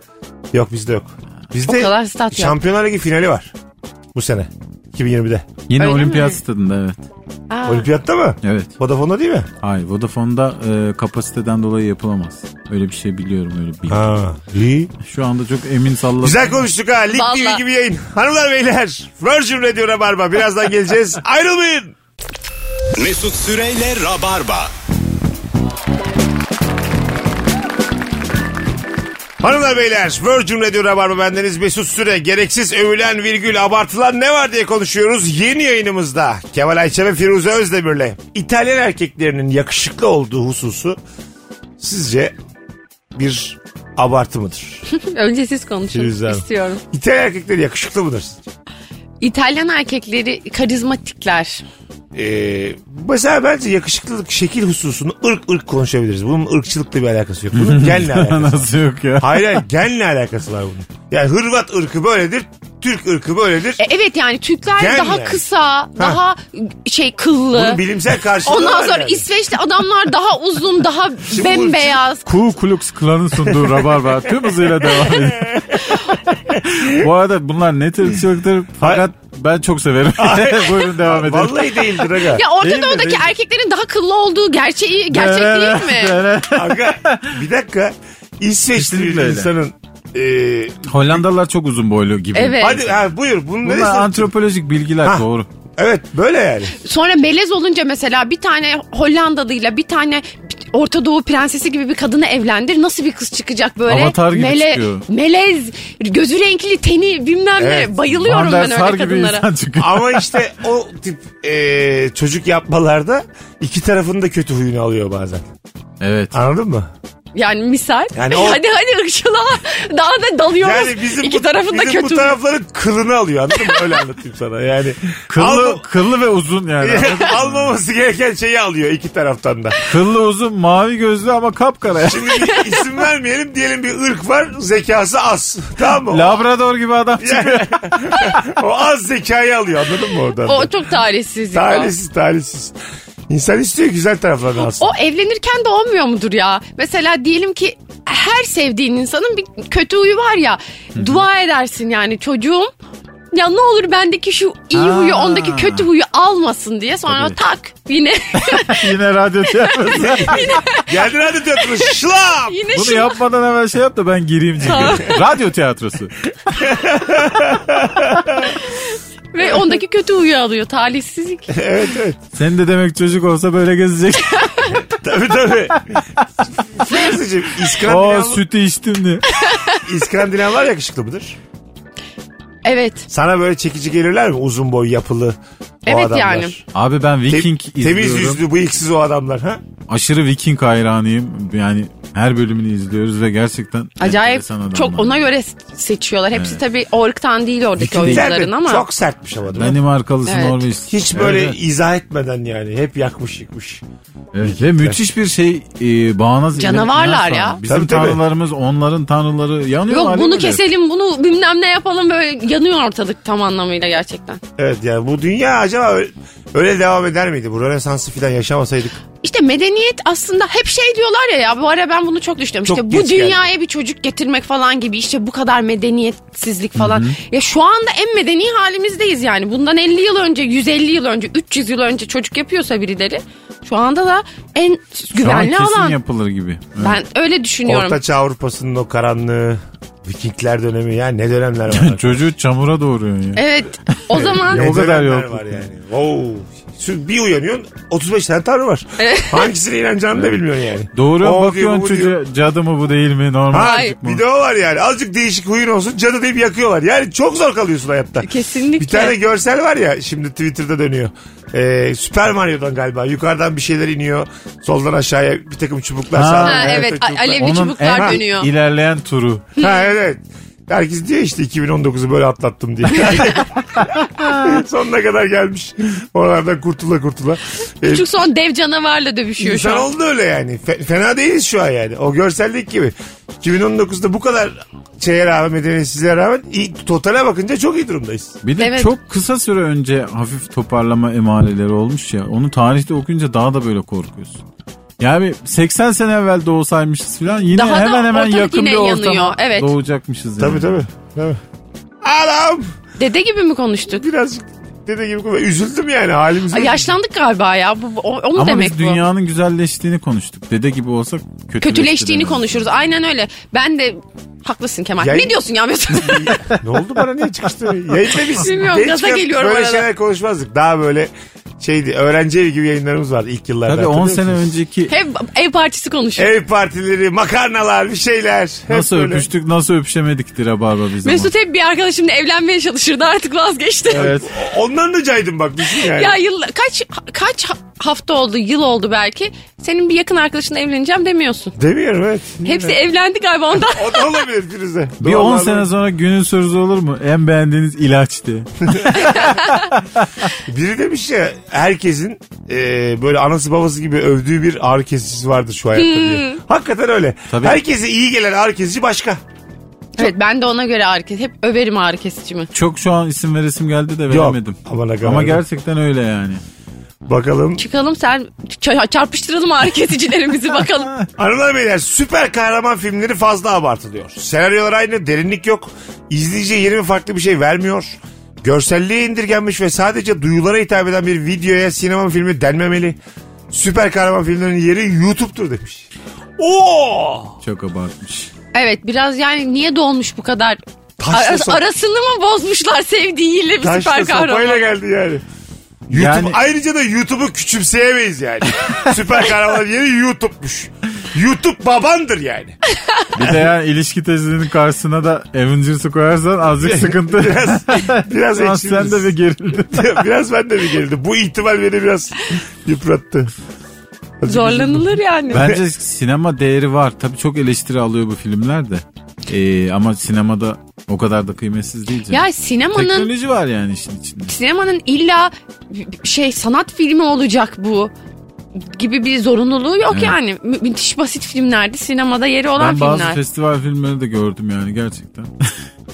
[SPEAKER 2] Yok bizde yok.
[SPEAKER 3] O kadar
[SPEAKER 2] Bizde
[SPEAKER 3] stat yok.
[SPEAKER 2] Şampiyonlar Ligi finali var. Bu sene. 2020'de.
[SPEAKER 4] Yine
[SPEAKER 3] öyle
[SPEAKER 4] olimpiyat
[SPEAKER 3] mi?
[SPEAKER 4] stadında evet.
[SPEAKER 3] Aa,
[SPEAKER 2] Olimpiyatta mı?
[SPEAKER 4] Evet.
[SPEAKER 2] Vodafone'da değil mi?
[SPEAKER 4] Hayır Vodafone'da e, kapasiteden dolayı yapılamaz. Öyle bir şey biliyorum öyle bir.
[SPEAKER 2] Ha. İyi.
[SPEAKER 4] Şu anda çok emin salladım.
[SPEAKER 2] Güzel konuştuk ha. Lig
[SPEAKER 3] Vallahi.
[SPEAKER 2] TV gibi yayın. Hanımlar beyler. Virgin Radio Rabarba. Birazdan geleceğiz. Ayrılmayın.
[SPEAKER 1] Mesut Süreyle Rabarba.
[SPEAKER 2] Hanımlar beyler Virgin Radio Rabarba bendeniz Mesut Süre. Gereksiz övülen virgül abartılan ne var diye konuşuyoruz. Yeni yayınımızda Kemal Ayça ve Firuze Özdemir'le İtalyan erkeklerinin yakışıklı olduğu hususu sizce bir abartı mıdır?
[SPEAKER 3] önce siz konuşun
[SPEAKER 2] Güzel.
[SPEAKER 3] istiyorum.
[SPEAKER 2] İtalyan erkekleri yakışıklı mıdır sizce?
[SPEAKER 3] İtalyan erkekleri karizmatikler.
[SPEAKER 2] Ee, mesela bence yakışıklılık şekil hususunu ırk ırk konuşabiliriz. Bunun ırkçılıkla bir alakası yok. Bunun genle alakası.
[SPEAKER 4] Nasıl yok ya?
[SPEAKER 2] Hayır hayır genle alakası var bunun. Yani Hırvat ırkı böyledir. Türk ırkı böyledir.
[SPEAKER 3] E, evet yani Türkler
[SPEAKER 2] Gel
[SPEAKER 3] daha
[SPEAKER 2] yani.
[SPEAKER 3] kısa, daha şey kıllı.
[SPEAKER 2] Bunun bilimsel karşılığı
[SPEAKER 3] Ondan
[SPEAKER 2] var
[SPEAKER 3] sonra
[SPEAKER 2] yani.
[SPEAKER 3] İsveçli adamlar daha uzun, daha
[SPEAKER 2] Şimdi
[SPEAKER 3] bembeyaz.
[SPEAKER 4] Ku Klux Klan'ın sunduğu Rabarba tüm hızıyla devam ediyor. Bu arada bunlar ne tür ırkçılıktır fakat ben çok severim. Buyurun devam edelim.
[SPEAKER 2] Vallahi değildir aga.
[SPEAKER 3] Ya
[SPEAKER 2] Değil
[SPEAKER 3] Orta
[SPEAKER 2] mi?
[SPEAKER 3] Doğu'daki
[SPEAKER 2] Değil mi?
[SPEAKER 3] erkeklerin daha kıllı olduğu gerçeği gerçek değil mi?
[SPEAKER 2] Aga bir dakika. İsveçli bir
[SPEAKER 4] Kesinlikle öyle.
[SPEAKER 2] insanın e,
[SPEAKER 4] Hollandalılar çok uzun boylu gibi.
[SPEAKER 3] Evet.
[SPEAKER 2] Hadi ha, buyur. Bunu
[SPEAKER 4] Bunlar
[SPEAKER 2] neresi-
[SPEAKER 4] antropolojik bilgiler
[SPEAKER 2] Ha.
[SPEAKER 4] doğru.
[SPEAKER 2] Evet böyle yani.
[SPEAKER 3] Sonra melez olunca mesela bir tane Hollandalıyla bir tane Orta Doğu prensesi gibi bir kadını evlendir. Nasıl bir kız çıkacak böyle?
[SPEAKER 4] Avatar gibi çıkıyor.
[SPEAKER 3] Melez, gözü renkli, teni bilmem
[SPEAKER 2] Evet.
[SPEAKER 3] ne. Bayılıyorum
[SPEAKER 4] Van der
[SPEAKER 3] ben
[SPEAKER 4] Sar
[SPEAKER 3] öyle
[SPEAKER 4] gibi
[SPEAKER 3] kadınlara.
[SPEAKER 4] insan çıkıyor.
[SPEAKER 2] Ama işte o tip e, çocuk yapmalarda iki tarafın da kötü huyunu alıyor bazen.
[SPEAKER 4] Evet.
[SPEAKER 2] Anladın mı?
[SPEAKER 3] Yani misal.
[SPEAKER 2] Yani o-
[SPEAKER 3] Hadi hadi ırkçılığa daha da dalıyoruz.
[SPEAKER 2] Yani bizim
[SPEAKER 3] İki
[SPEAKER 2] bu,
[SPEAKER 3] tarafında
[SPEAKER 2] bizim
[SPEAKER 3] kötü.
[SPEAKER 2] bu tarafların kılını alıyor anladın mı? Öyle anlatayım sana yani.
[SPEAKER 4] Kıllı,
[SPEAKER 2] Alma-
[SPEAKER 4] kıllı ve uzun yani.
[SPEAKER 2] almaması gereken şeyi alıyor iki taraftan da.
[SPEAKER 4] kıllı uzun mavi gözlü ama kapkara. yani.
[SPEAKER 2] Şimdi bir isim vermeyelim diyelim bir ırk var zekası az. Tamam mı?
[SPEAKER 4] Labrador gibi adam çıkıyor.
[SPEAKER 2] O az zekayı alıyor anladın mı oradan?
[SPEAKER 3] O
[SPEAKER 2] da?
[SPEAKER 3] çok talihsiz. ya.
[SPEAKER 2] Talihsiz talihsiz. İnsan istiyor güzel taraflarını aslında.
[SPEAKER 3] O evlenirken de olmuyor mudur ya? Mesela diyelim ki her sevdiğin insanın bir kötü huyu var ya. Dua edersin yani çocuğum. Ya ne olur bendeki şu iyi
[SPEAKER 4] Ha.
[SPEAKER 3] huyu ondaki kötü huyu almasın diye. Sonra
[SPEAKER 4] Tabii.
[SPEAKER 3] tak yine
[SPEAKER 4] Yine radyo tiyatrosu.
[SPEAKER 2] Geldin hadi tiyatroya şlap.
[SPEAKER 3] yine
[SPEAKER 4] Bunu
[SPEAKER 3] şu.
[SPEAKER 4] yapmadan hemen şey yap da ben gireyim çünkü. radyo tiyatrosu.
[SPEAKER 3] Ve ondaki kötü huyu alıyor. Talihsizlik.
[SPEAKER 2] evet evet.
[SPEAKER 4] Senin de demek çocuk olsa böyle gezecek.
[SPEAKER 2] Tabii tabii. Firuze'cim
[SPEAKER 4] o
[SPEAKER 2] İskandinav,
[SPEAKER 4] sütü içtim diye.
[SPEAKER 2] İskandinavlar yakışıklı mıdır?
[SPEAKER 3] Evet.
[SPEAKER 2] Sana böyle çekici gelirler mi uzun boy yapılı o
[SPEAKER 3] Evet
[SPEAKER 2] adamlar?
[SPEAKER 3] yani.
[SPEAKER 4] Abi ben
[SPEAKER 2] Te-
[SPEAKER 4] Viking
[SPEAKER 2] temiz
[SPEAKER 4] izliyorum.
[SPEAKER 2] yüzlü bıyıksız o adamlar ha?
[SPEAKER 4] Aşırı Viking hayranıyım. Yani her bölümünü izliyoruz ve gerçekten
[SPEAKER 3] Acayip
[SPEAKER 4] enteresan adamlar.
[SPEAKER 3] çok ona göre seçiyorlar. Hepsi tabii orktan değil oradaki
[SPEAKER 4] Bütün
[SPEAKER 3] oyuncuların
[SPEAKER 2] Sertmiş,
[SPEAKER 3] ama.
[SPEAKER 2] Çok sertmiş ama değil mi?
[SPEAKER 4] Danimarkalısı
[SPEAKER 3] Evet.
[SPEAKER 4] Norveç.
[SPEAKER 2] Hiç böyle
[SPEAKER 4] Evet,
[SPEAKER 2] izah etmeden yani hep yakmış yıkmış.
[SPEAKER 4] evet. Ve müthiş bir şey e, bağnaz.
[SPEAKER 3] Canavarlar
[SPEAKER 4] inanç var.
[SPEAKER 3] ya.
[SPEAKER 4] Bizim
[SPEAKER 2] Tabii, tabii.
[SPEAKER 4] tanrılarımız onların tanrıları yanıyor.
[SPEAKER 3] Yok
[SPEAKER 4] hali
[SPEAKER 3] bunu
[SPEAKER 4] böyle.
[SPEAKER 3] keselim bunu bilmem ne yapalım böyle yanıyor ortalık tam anlamıyla gerçekten.
[SPEAKER 2] Evet yani bu dünya acaba öyle, öyle devam eder miydi? Bu Rönesans'ı falan yaşamasaydık.
[SPEAKER 3] İşte medeniyet aslında hep şey diyorlar ya ya bu ara ben bunu çok düşünüyorum.
[SPEAKER 2] Çok
[SPEAKER 3] işte
[SPEAKER 2] geç
[SPEAKER 3] bu dünyaya bir çocuk getirmek falan gibi işte bu kadar medeniyetsizlik falan. Ya şu anda en medeni halimizdeyiz yani. Bundan 50 yıl önce, 150 yıl önce, 300 yıl önce çocuk yapıyorsa birileri şu anda da en
[SPEAKER 4] Şu an
[SPEAKER 3] güvenli
[SPEAKER 4] kesin
[SPEAKER 3] alan.
[SPEAKER 4] yapılır gibi. Evet.
[SPEAKER 3] ben öyle düşünüyorum.
[SPEAKER 2] Ortaçağ Avrupa'sının o karanlığı. Vikingler dönemi ya ne dönemler var.
[SPEAKER 4] Çocuğu çamura doğruyorsun ya.
[SPEAKER 3] Evet. O zaman
[SPEAKER 2] ne
[SPEAKER 4] o kadar
[SPEAKER 2] dönemler
[SPEAKER 4] yok.
[SPEAKER 2] var yani. Wow. Şu bir uyanıyorsun 35 tane tanrı var. Hangisine inanacağını da bilmiyorsun yani.
[SPEAKER 4] Doğru
[SPEAKER 2] O diyor,
[SPEAKER 4] bakıyorsun
[SPEAKER 2] bu diyor.
[SPEAKER 4] çocuğa cadı mı bu değil mi normal
[SPEAKER 2] Ha,
[SPEAKER 3] Hayır.
[SPEAKER 4] mı?
[SPEAKER 2] bir de o var yani. Azıcık değişik huyun olsun cadı deyip yakıyorlar. Yani çok zor kalıyorsun hayatta.
[SPEAKER 3] Kesinlikle.
[SPEAKER 2] Bir tane görsel var ya şimdi Twitter'da dönüyor. Ee, Süper Mario'dan galiba. Yukarıdan bir şeyler iniyor. Soldan aşağıya bir takım çubuklar.
[SPEAKER 4] Ha.
[SPEAKER 2] sağdan
[SPEAKER 3] Ha,
[SPEAKER 2] bir
[SPEAKER 3] evet
[SPEAKER 2] takım
[SPEAKER 3] a-
[SPEAKER 2] çubuklar.
[SPEAKER 3] alevli çubuklar
[SPEAKER 4] en
[SPEAKER 3] dönüyor.
[SPEAKER 4] ilerleyen turu.
[SPEAKER 2] Ha evet. Herkes diyor işte 2019'u böyle atlattım diye. Sonuna kadar gelmiş. Oralardan kurtula kurtula. Ee,
[SPEAKER 3] Küçük son dev canavarla dövüşüyor şu
[SPEAKER 2] İnsan
[SPEAKER 3] an.
[SPEAKER 2] oldu öyle yani. Fe- fena değiliz şu an yani. O görsellik gibi. 2019'da bu kadar şeye rağmen, medeniyetsizliğe rağmen iyi, totale bakınca çok iyi durumdayız.
[SPEAKER 4] Bir de
[SPEAKER 3] Evet.
[SPEAKER 4] çok kısa süre önce hafif toparlama emareleri olmuş ya. Onu tarihte okuyunca daha da böyle korkuyorsun. Yani 80 sene evvel doğsaymışız falan yine
[SPEAKER 3] Daha da
[SPEAKER 4] hemen hemen
[SPEAKER 3] ortalık
[SPEAKER 4] yakın
[SPEAKER 3] yine
[SPEAKER 4] bir ortama
[SPEAKER 3] yanıyor, evet.
[SPEAKER 4] doğacakmışız yani.
[SPEAKER 2] Tabii tabii. tabii. Anam!
[SPEAKER 3] Dede gibi mi konuştuk?
[SPEAKER 2] Birazcık dede gibi üzüldüm yani halimize.
[SPEAKER 3] Ay, Yaşlandık galiba ya. Bu, bu- o, o mu
[SPEAKER 4] Ama
[SPEAKER 3] demek
[SPEAKER 4] biz
[SPEAKER 3] bu?
[SPEAKER 4] dünyanın güzelleştiğini konuştuk. Dede gibi olsak kötüleşti
[SPEAKER 3] Kötüleştiğini
[SPEAKER 4] demek.
[SPEAKER 3] konuşuruz. Aynen öyle. Ben de haklısın Kemal.
[SPEAKER 2] Yayın-
[SPEAKER 3] Ne diyorsun ya Mesut?
[SPEAKER 2] ne oldu bana niye çıkıştı? Yayında biz
[SPEAKER 3] Bilmiyorum,
[SPEAKER 2] gençken
[SPEAKER 3] gaza geliyorum
[SPEAKER 2] böyle
[SPEAKER 3] arada.
[SPEAKER 2] şeyler konuşmazdık. Daha böyle şeydi öğrenci evi gibi yayınlarımız vardı ilk yıllarda.
[SPEAKER 4] Tabii 10
[SPEAKER 2] hatırlıyor
[SPEAKER 4] sene
[SPEAKER 2] musunuz?
[SPEAKER 4] önceki
[SPEAKER 3] Hep ev partisi konuşuyor.
[SPEAKER 2] Ev partileri, makarnalar, bir şeyler. Hep
[SPEAKER 4] nasıl
[SPEAKER 2] böyle.
[SPEAKER 4] öpüştük nasıl öpüşemediktir Rabarba biz ama.
[SPEAKER 3] Mesut hep bir arkadaşımla evlenmeye çalışırdı artık vazgeçti.
[SPEAKER 4] Evet.
[SPEAKER 2] Ondan da caydım bak düşün yani.
[SPEAKER 3] Ya yıl kaç kaç ha- hafta oldu, yıl oldu belki. Senin bir yakın arkadaşınla evleneceğim demiyorsun.
[SPEAKER 2] Demiyorum evet.
[SPEAKER 3] Hepsi evlendi galiba ondan.
[SPEAKER 2] O da olabilir Firuze.
[SPEAKER 4] Bir
[SPEAKER 2] Doğru
[SPEAKER 4] 10
[SPEAKER 2] olabilir.
[SPEAKER 4] sene sonra günün sorusu olur mu? En beğendiğiniz ilaç diye.
[SPEAKER 2] Biri demiş ya herkesin e, böyle anası babası gibi övdüğü bir ağrı kesicisi vardır şu hayatta diye. Hakikaten öyle.
[SPEAKER 4] Tabii.
[SPEAKER 2] Herkese iyi gelen ağrı kesici başka.
[SPEAKER 3] Evet ben de ona göre ağrı kes- Hep överim ağrı kesicimi.
[SPEAKER 4] Çok şu an isim veresim geldi de veremedim.
[SPEAKER 2] aman aga
[SPEAKER 4] Ama
[SPEAKER 2] verdim.
[SPEAKER 4] gerçekten öyle yani.
[SPEAKER 2] Bakalım.
[SPEAKER 3] Çıkalım sen ç- çarpıştıralım ağrı kesicilerimizi bakalım.
[SPEAKER 2] Hanımlar beyler süper kahraman filmleri fazla abartılıyor. Senaryolar aynı derinlik yok. İzleyiciye yeni ve farklı bir şey vermiyor. Görselliğe indirgenmiş ve sadece duyulara hitap eden bir videoya sinema filmi denmemeli. Süper kahraman filmlerinin yeri YouTube'dur demiş. Oo!
[SPEAKER 4] Çok abartmış.
[SPEAKER 3] Evet biraz yani niye dolmuş bu kadar?
[SPEAKER 2] Taşla
[SPEAKER 3] Ara-
[SPEAKER 2] sop-
[SPEAKER 3] arasını mı bozmuşlar sevdiğiyle bir
[SPEAKER 2] Taşla
[SPEAKER 3] süper kahraman?
[SPEAKER 2] sopayla geldi yani. YouTube,
[SPEAKER 4] Yani-
[SPEAKER 2] Ayrıca da YouTube'u küçümseyemeyiz yani. Süper kahraman yeri YouTube'muş. YouTube babandır yani.
[SPEAKER 4] Bir de yani ilişki tezinin karşısına da Avengers'ı koyarsan azıcık sıkıntı.
[SPEAKER 2] Biraz biraz
[SPEAKER 4] Şu an
[SPEAKER 2] ekşimiz.
[SPEAKER 4] sen de bir gerildin.
[SPEAKER 2] biraz ben de bir geldi. Bu ihtimal beni biraz yıprattı.
[SPEAKER 3] Zorlanılır yani.
[SPEAKER 4] Bence sinema değeri var. Tabii çok eleştiri alıyor bu filmler de. Ee, ama sinemada o kadar da kıymetsiz değil. canım.
[SPEAKER 3] Ya sinemanın
[SPEAKER 4] Teknoloji var yani işin içinde.
[SPEAKER 3] sinemanın illa şey sanat filmi olacak bu gibi bir zorunluluğu yok
[SPEAKER 4] Evet.
[SPEAKER 3] yani. Mü- müthiş basit filmlerde sinemada yeri olan
[SPEAKER 4] Ben bazı
[SPEAKER 3] filmler.
[SPEAKER 4] festival filmleri de gördüm yani gerçekten.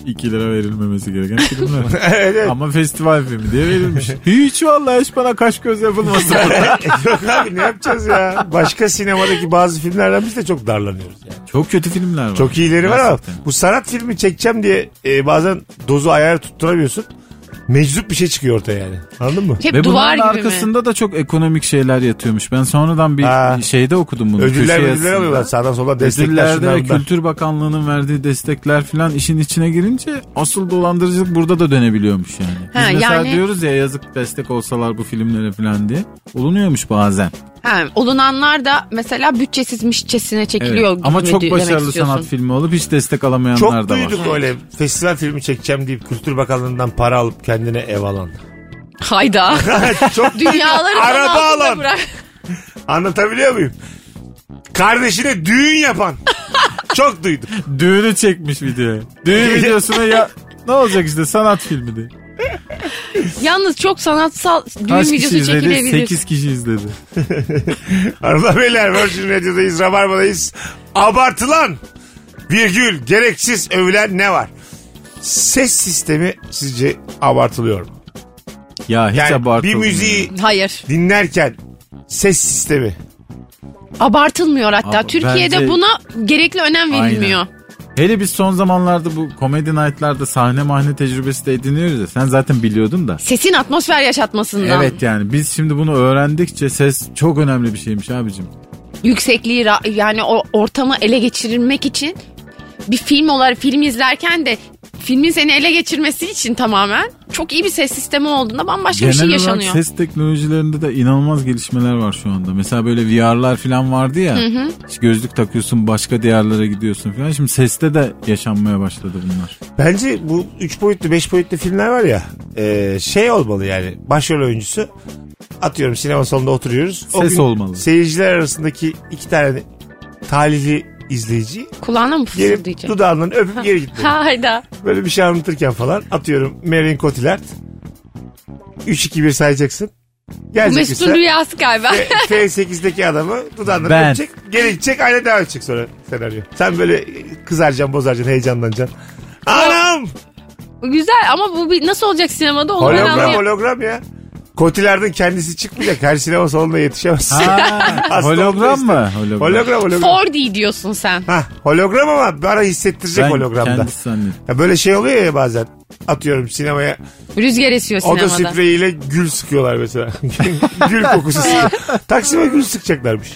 [SPEAKER 4] 2 lira verilmemesi gereken filmler.
[SPEAKER 2] evet.
[SPEAKER 4] Ama festival filmi diye verilmiş. Hiç vallahi hiç bana kaş göz yapılmasın.
[SPEAKER 2] Yok abi ne yapacağız ya? Başka sinemadaki bazı filmlerden biz de çok darlanıyoruz. Yani.
[SPEAKER 4] Çok kötü filmler var.
[SPEAKER 2] Çok iyileri var ama
[SPEAKER 4] Gerçekten.
[SPEAKER 2] bu sanat filmi çekeceğim diye e, bazen dozu ayar tutturamıyorsun. Meczup bir şey çıkıyor ortaya yani. Anladın mı?
[SPEAKER 3] Hep
[SPEAKER 4] Ve
[SPEAKER 3] duvar
[SPEAKER 4] bunların
[SPEAKER 3] gibi mi?
[SPEAKER 4] arkasında da çok ekonomik şeyler yatıyormuş. Ben sonradan bir
[SPEAKER 2] Ha.
[SPEAKER 4] şeyde okudum bunu.
[SPEAKER 2] Ödüller
[SPEAKER 4] köşe
[SPEAKER 2] ödüller
[SPEAKER 4] yazısında.
[SPEAKER 2] alıyorlar sağdan soldan destekler
[SPEAKER 4] Ödüllerde
[SPEAKER 2] şundan
[SPEAKER 4] ve
[SPEAKER 2] bundan.
[SPEAKER 4] Kültür Bakanlığı'nın verdiği destekler filan işin içine girince asıl dolandırıcılık burada da dönebiliyormuş yani. Biz
[SPEAKER 3] Ha,
[SPEAKER 4] mesela
[SPEAKER 3] yani-
[SPEAKER 4] diyoruz ya yazık destek olsalar bu filmlere filan diye. Olunuyormuş bazen.
[SPEAKER 3] Ha, olunanlar da mesela bütçesizmişçesine çekiliyor.
[SPEAKER 4] Evet. Ama
[SPEAKER 3] gibi
[SPEAKER 4] çok
[SPEAKER 3] demek
[SPEAKER 4] başarılı
[SPEAKER 3] istiyorsun.
[SPEAKER 4] sanat filmi olup hiç destek alamayanlar
[SPEAKER 2] Çok
[SPEAKER 4] da var.
[SPEAKER 2] duyduk öyle festival filmi çekeceğim deyip Kültür Bakanlığı'ndan para alıp kendine ev alan.
[SPEAKER 3] Hayda.
[SPEAKER 2] çok
[SPEAKER 3] Dünyaları
[SPEAKER 2] Araba
[SPEAKER 3] Araba
[SPEAKER 2] alan.
[SPEAKER 3] bırak.
[SPEAKER 2] Anlatabiliyor muyum? Kardeşine düğün yapan. Çok duydum.
[SPEAKER 4] Düğünü çekmiş video. Düğün videosuna ya ne olacak işte sanat filmi de.
[SPEAKER 3] Yalnız çok sanatsal
[SPEAKER 4] Kaç
[SPEAKER 3] düğün
[SPEAKER 4] kişi
[SPEAKER 3] videosu
[SPEAKER 4] izledi?
[SPEAKER 3] çekilebilir.
[SPEAKER 4] 8 kişi izledi.
[SPEAKER 2] Arada beyler Virgin Radio'dayız, Rabarba'dayız. Abartılan virgül gereksiz övülen ne var? Ses sistemi sizce abartılıyor mu?
[SPEAKER 4] Ya hiç
[SPEAKER 2] Yani bir
[SPEAKER 4] abartılmıyor.
[SPEAKER 2] müziği
[SPEAKER 3] Hayır.
[SPEAKER 2] dinlerken ses sistemi.
[SPEAKER 3] Abartılmıyor hatta.
[SPEAKER 4] Ama
[SPEAKER 3] Türkiye'de
[SPEAKER 4] bence-
[SPEAKER 3] buna gerekli önem verilmiyor.
[SPEAKER 4] Hele biz son zamanlarda bu Comedy Night'larda sahne mahne tecrübesi de ediniyoruz ya. Sen zaten biliyordun da.
[SPEAKER 3] Sesin atmosfer yaşatmasından.
[SPEAKER 4] Evet yani biz şimdi bunu öğrendikçe ses çok önemli bir şeymiş abicim.
[SPEAKER 3] yüksekliği ra- yani o ortamı ele geçirilmek için bir film olarak film izlerken de filmin seni ele geçirmesi için tamamen çok iyi bir ses sistemi olduğunda bambaşka
[SPEAKER 4] Genel
[SPEAKER 3] bir şey
[SPEAKER 4] olarak
[SPEAKER 3] yaşanıyor.
[SPEAKER 4] ses teknolojilerinde de inanılmaz gelişmeler var şu anda. Mesela böyle VR'lar falan vardı ya. İşte gözlük takıyorsun başka diyarlara gidiyorsun falan. Şimdi seste de yaşanmaya başladı bunlar.
[SPEAKER 2] Bence bu 3 boyutlu 5 boyutlu filmler var ya e, şey olmalı yani başrol oyuncusu atıyorum sinema salonunda oturuyoruz.
[SPEAKER 4] Ses olmalı.
[SPEAKER 2] Seyirciler arasındaki iki tane talihli izleyici
[SPEAKER 3] Kulağına mı
[SPEAKER 2] gelip
[SPEAKER 3] fısıldayacak?
[SPEAKER 2] dudağından öpüp geri gitmeli.
[SPEAKER 3] Hayda.
[SPEAKER 2] Böyle bir şey anlatırken falan atıyorum Marion Cotillard 3-2-1 sayacaksın.
[SPEAKER 3] Bu
[SPEAKER 2] Gelecek Şey-
[SPEAKER 3] Mesut'un
[SPEAKER 2] mesela
[SPEAKER 3] rüyası galiba.
[SPEAKER 2] F8'deki adamı dudağından
[SPEAKER 4] Ben.
[SPEAKER 2] öpecek. Geri gidecek aynı devam edecek sonra senaryo. Sen böyle kızaracaksın bozaracaksın heyecanlanacaksın. Anam!
[SPEAKER 3] Güzel ama bu bir, nasıl olacak sinemada onu ben
[SPEAKER 2] Hologram
[SPEAKER 3] anlayamıyorum.
[SPEAKER 2] hologram ya. Kotilerden kendisi çıkmayacak. Her sinema salonuna yetişemez.
[SPEAKER 4] Ha,
[SPEAKER 2] Hasta
[SPEAKER 4] hologram
[SPEAKER 2] olmak
[SPEAKER 4] mı?
[SPEAKER 2] ister.
[SPEAKER 4] Hologram.
[SPEAKER 2] hologram hologram.
[SPEAKER 3] 4D diyorsun sen.
[SPEAKER 2] Ha, hologram ama bana hissettirecek
[SPEAKER 4] Ben
[SPEAKER 2] hologramda.
[SPEAKER 4] kendisi zannettim.
[SPEAKER 2] Ya böyle şey oluyor ya bazen. Atıyorum sinemaya
[SPEAKER 3] Rüzgar esiyor
[SPEAKER 2] oda
[SPEAKER 3] sinemada.
[SPEAKER 2] spreyiyle gül sıkıyorlar mesela. gül kokusu sıkıyor. Taksim'e gül sıkacaklarmış.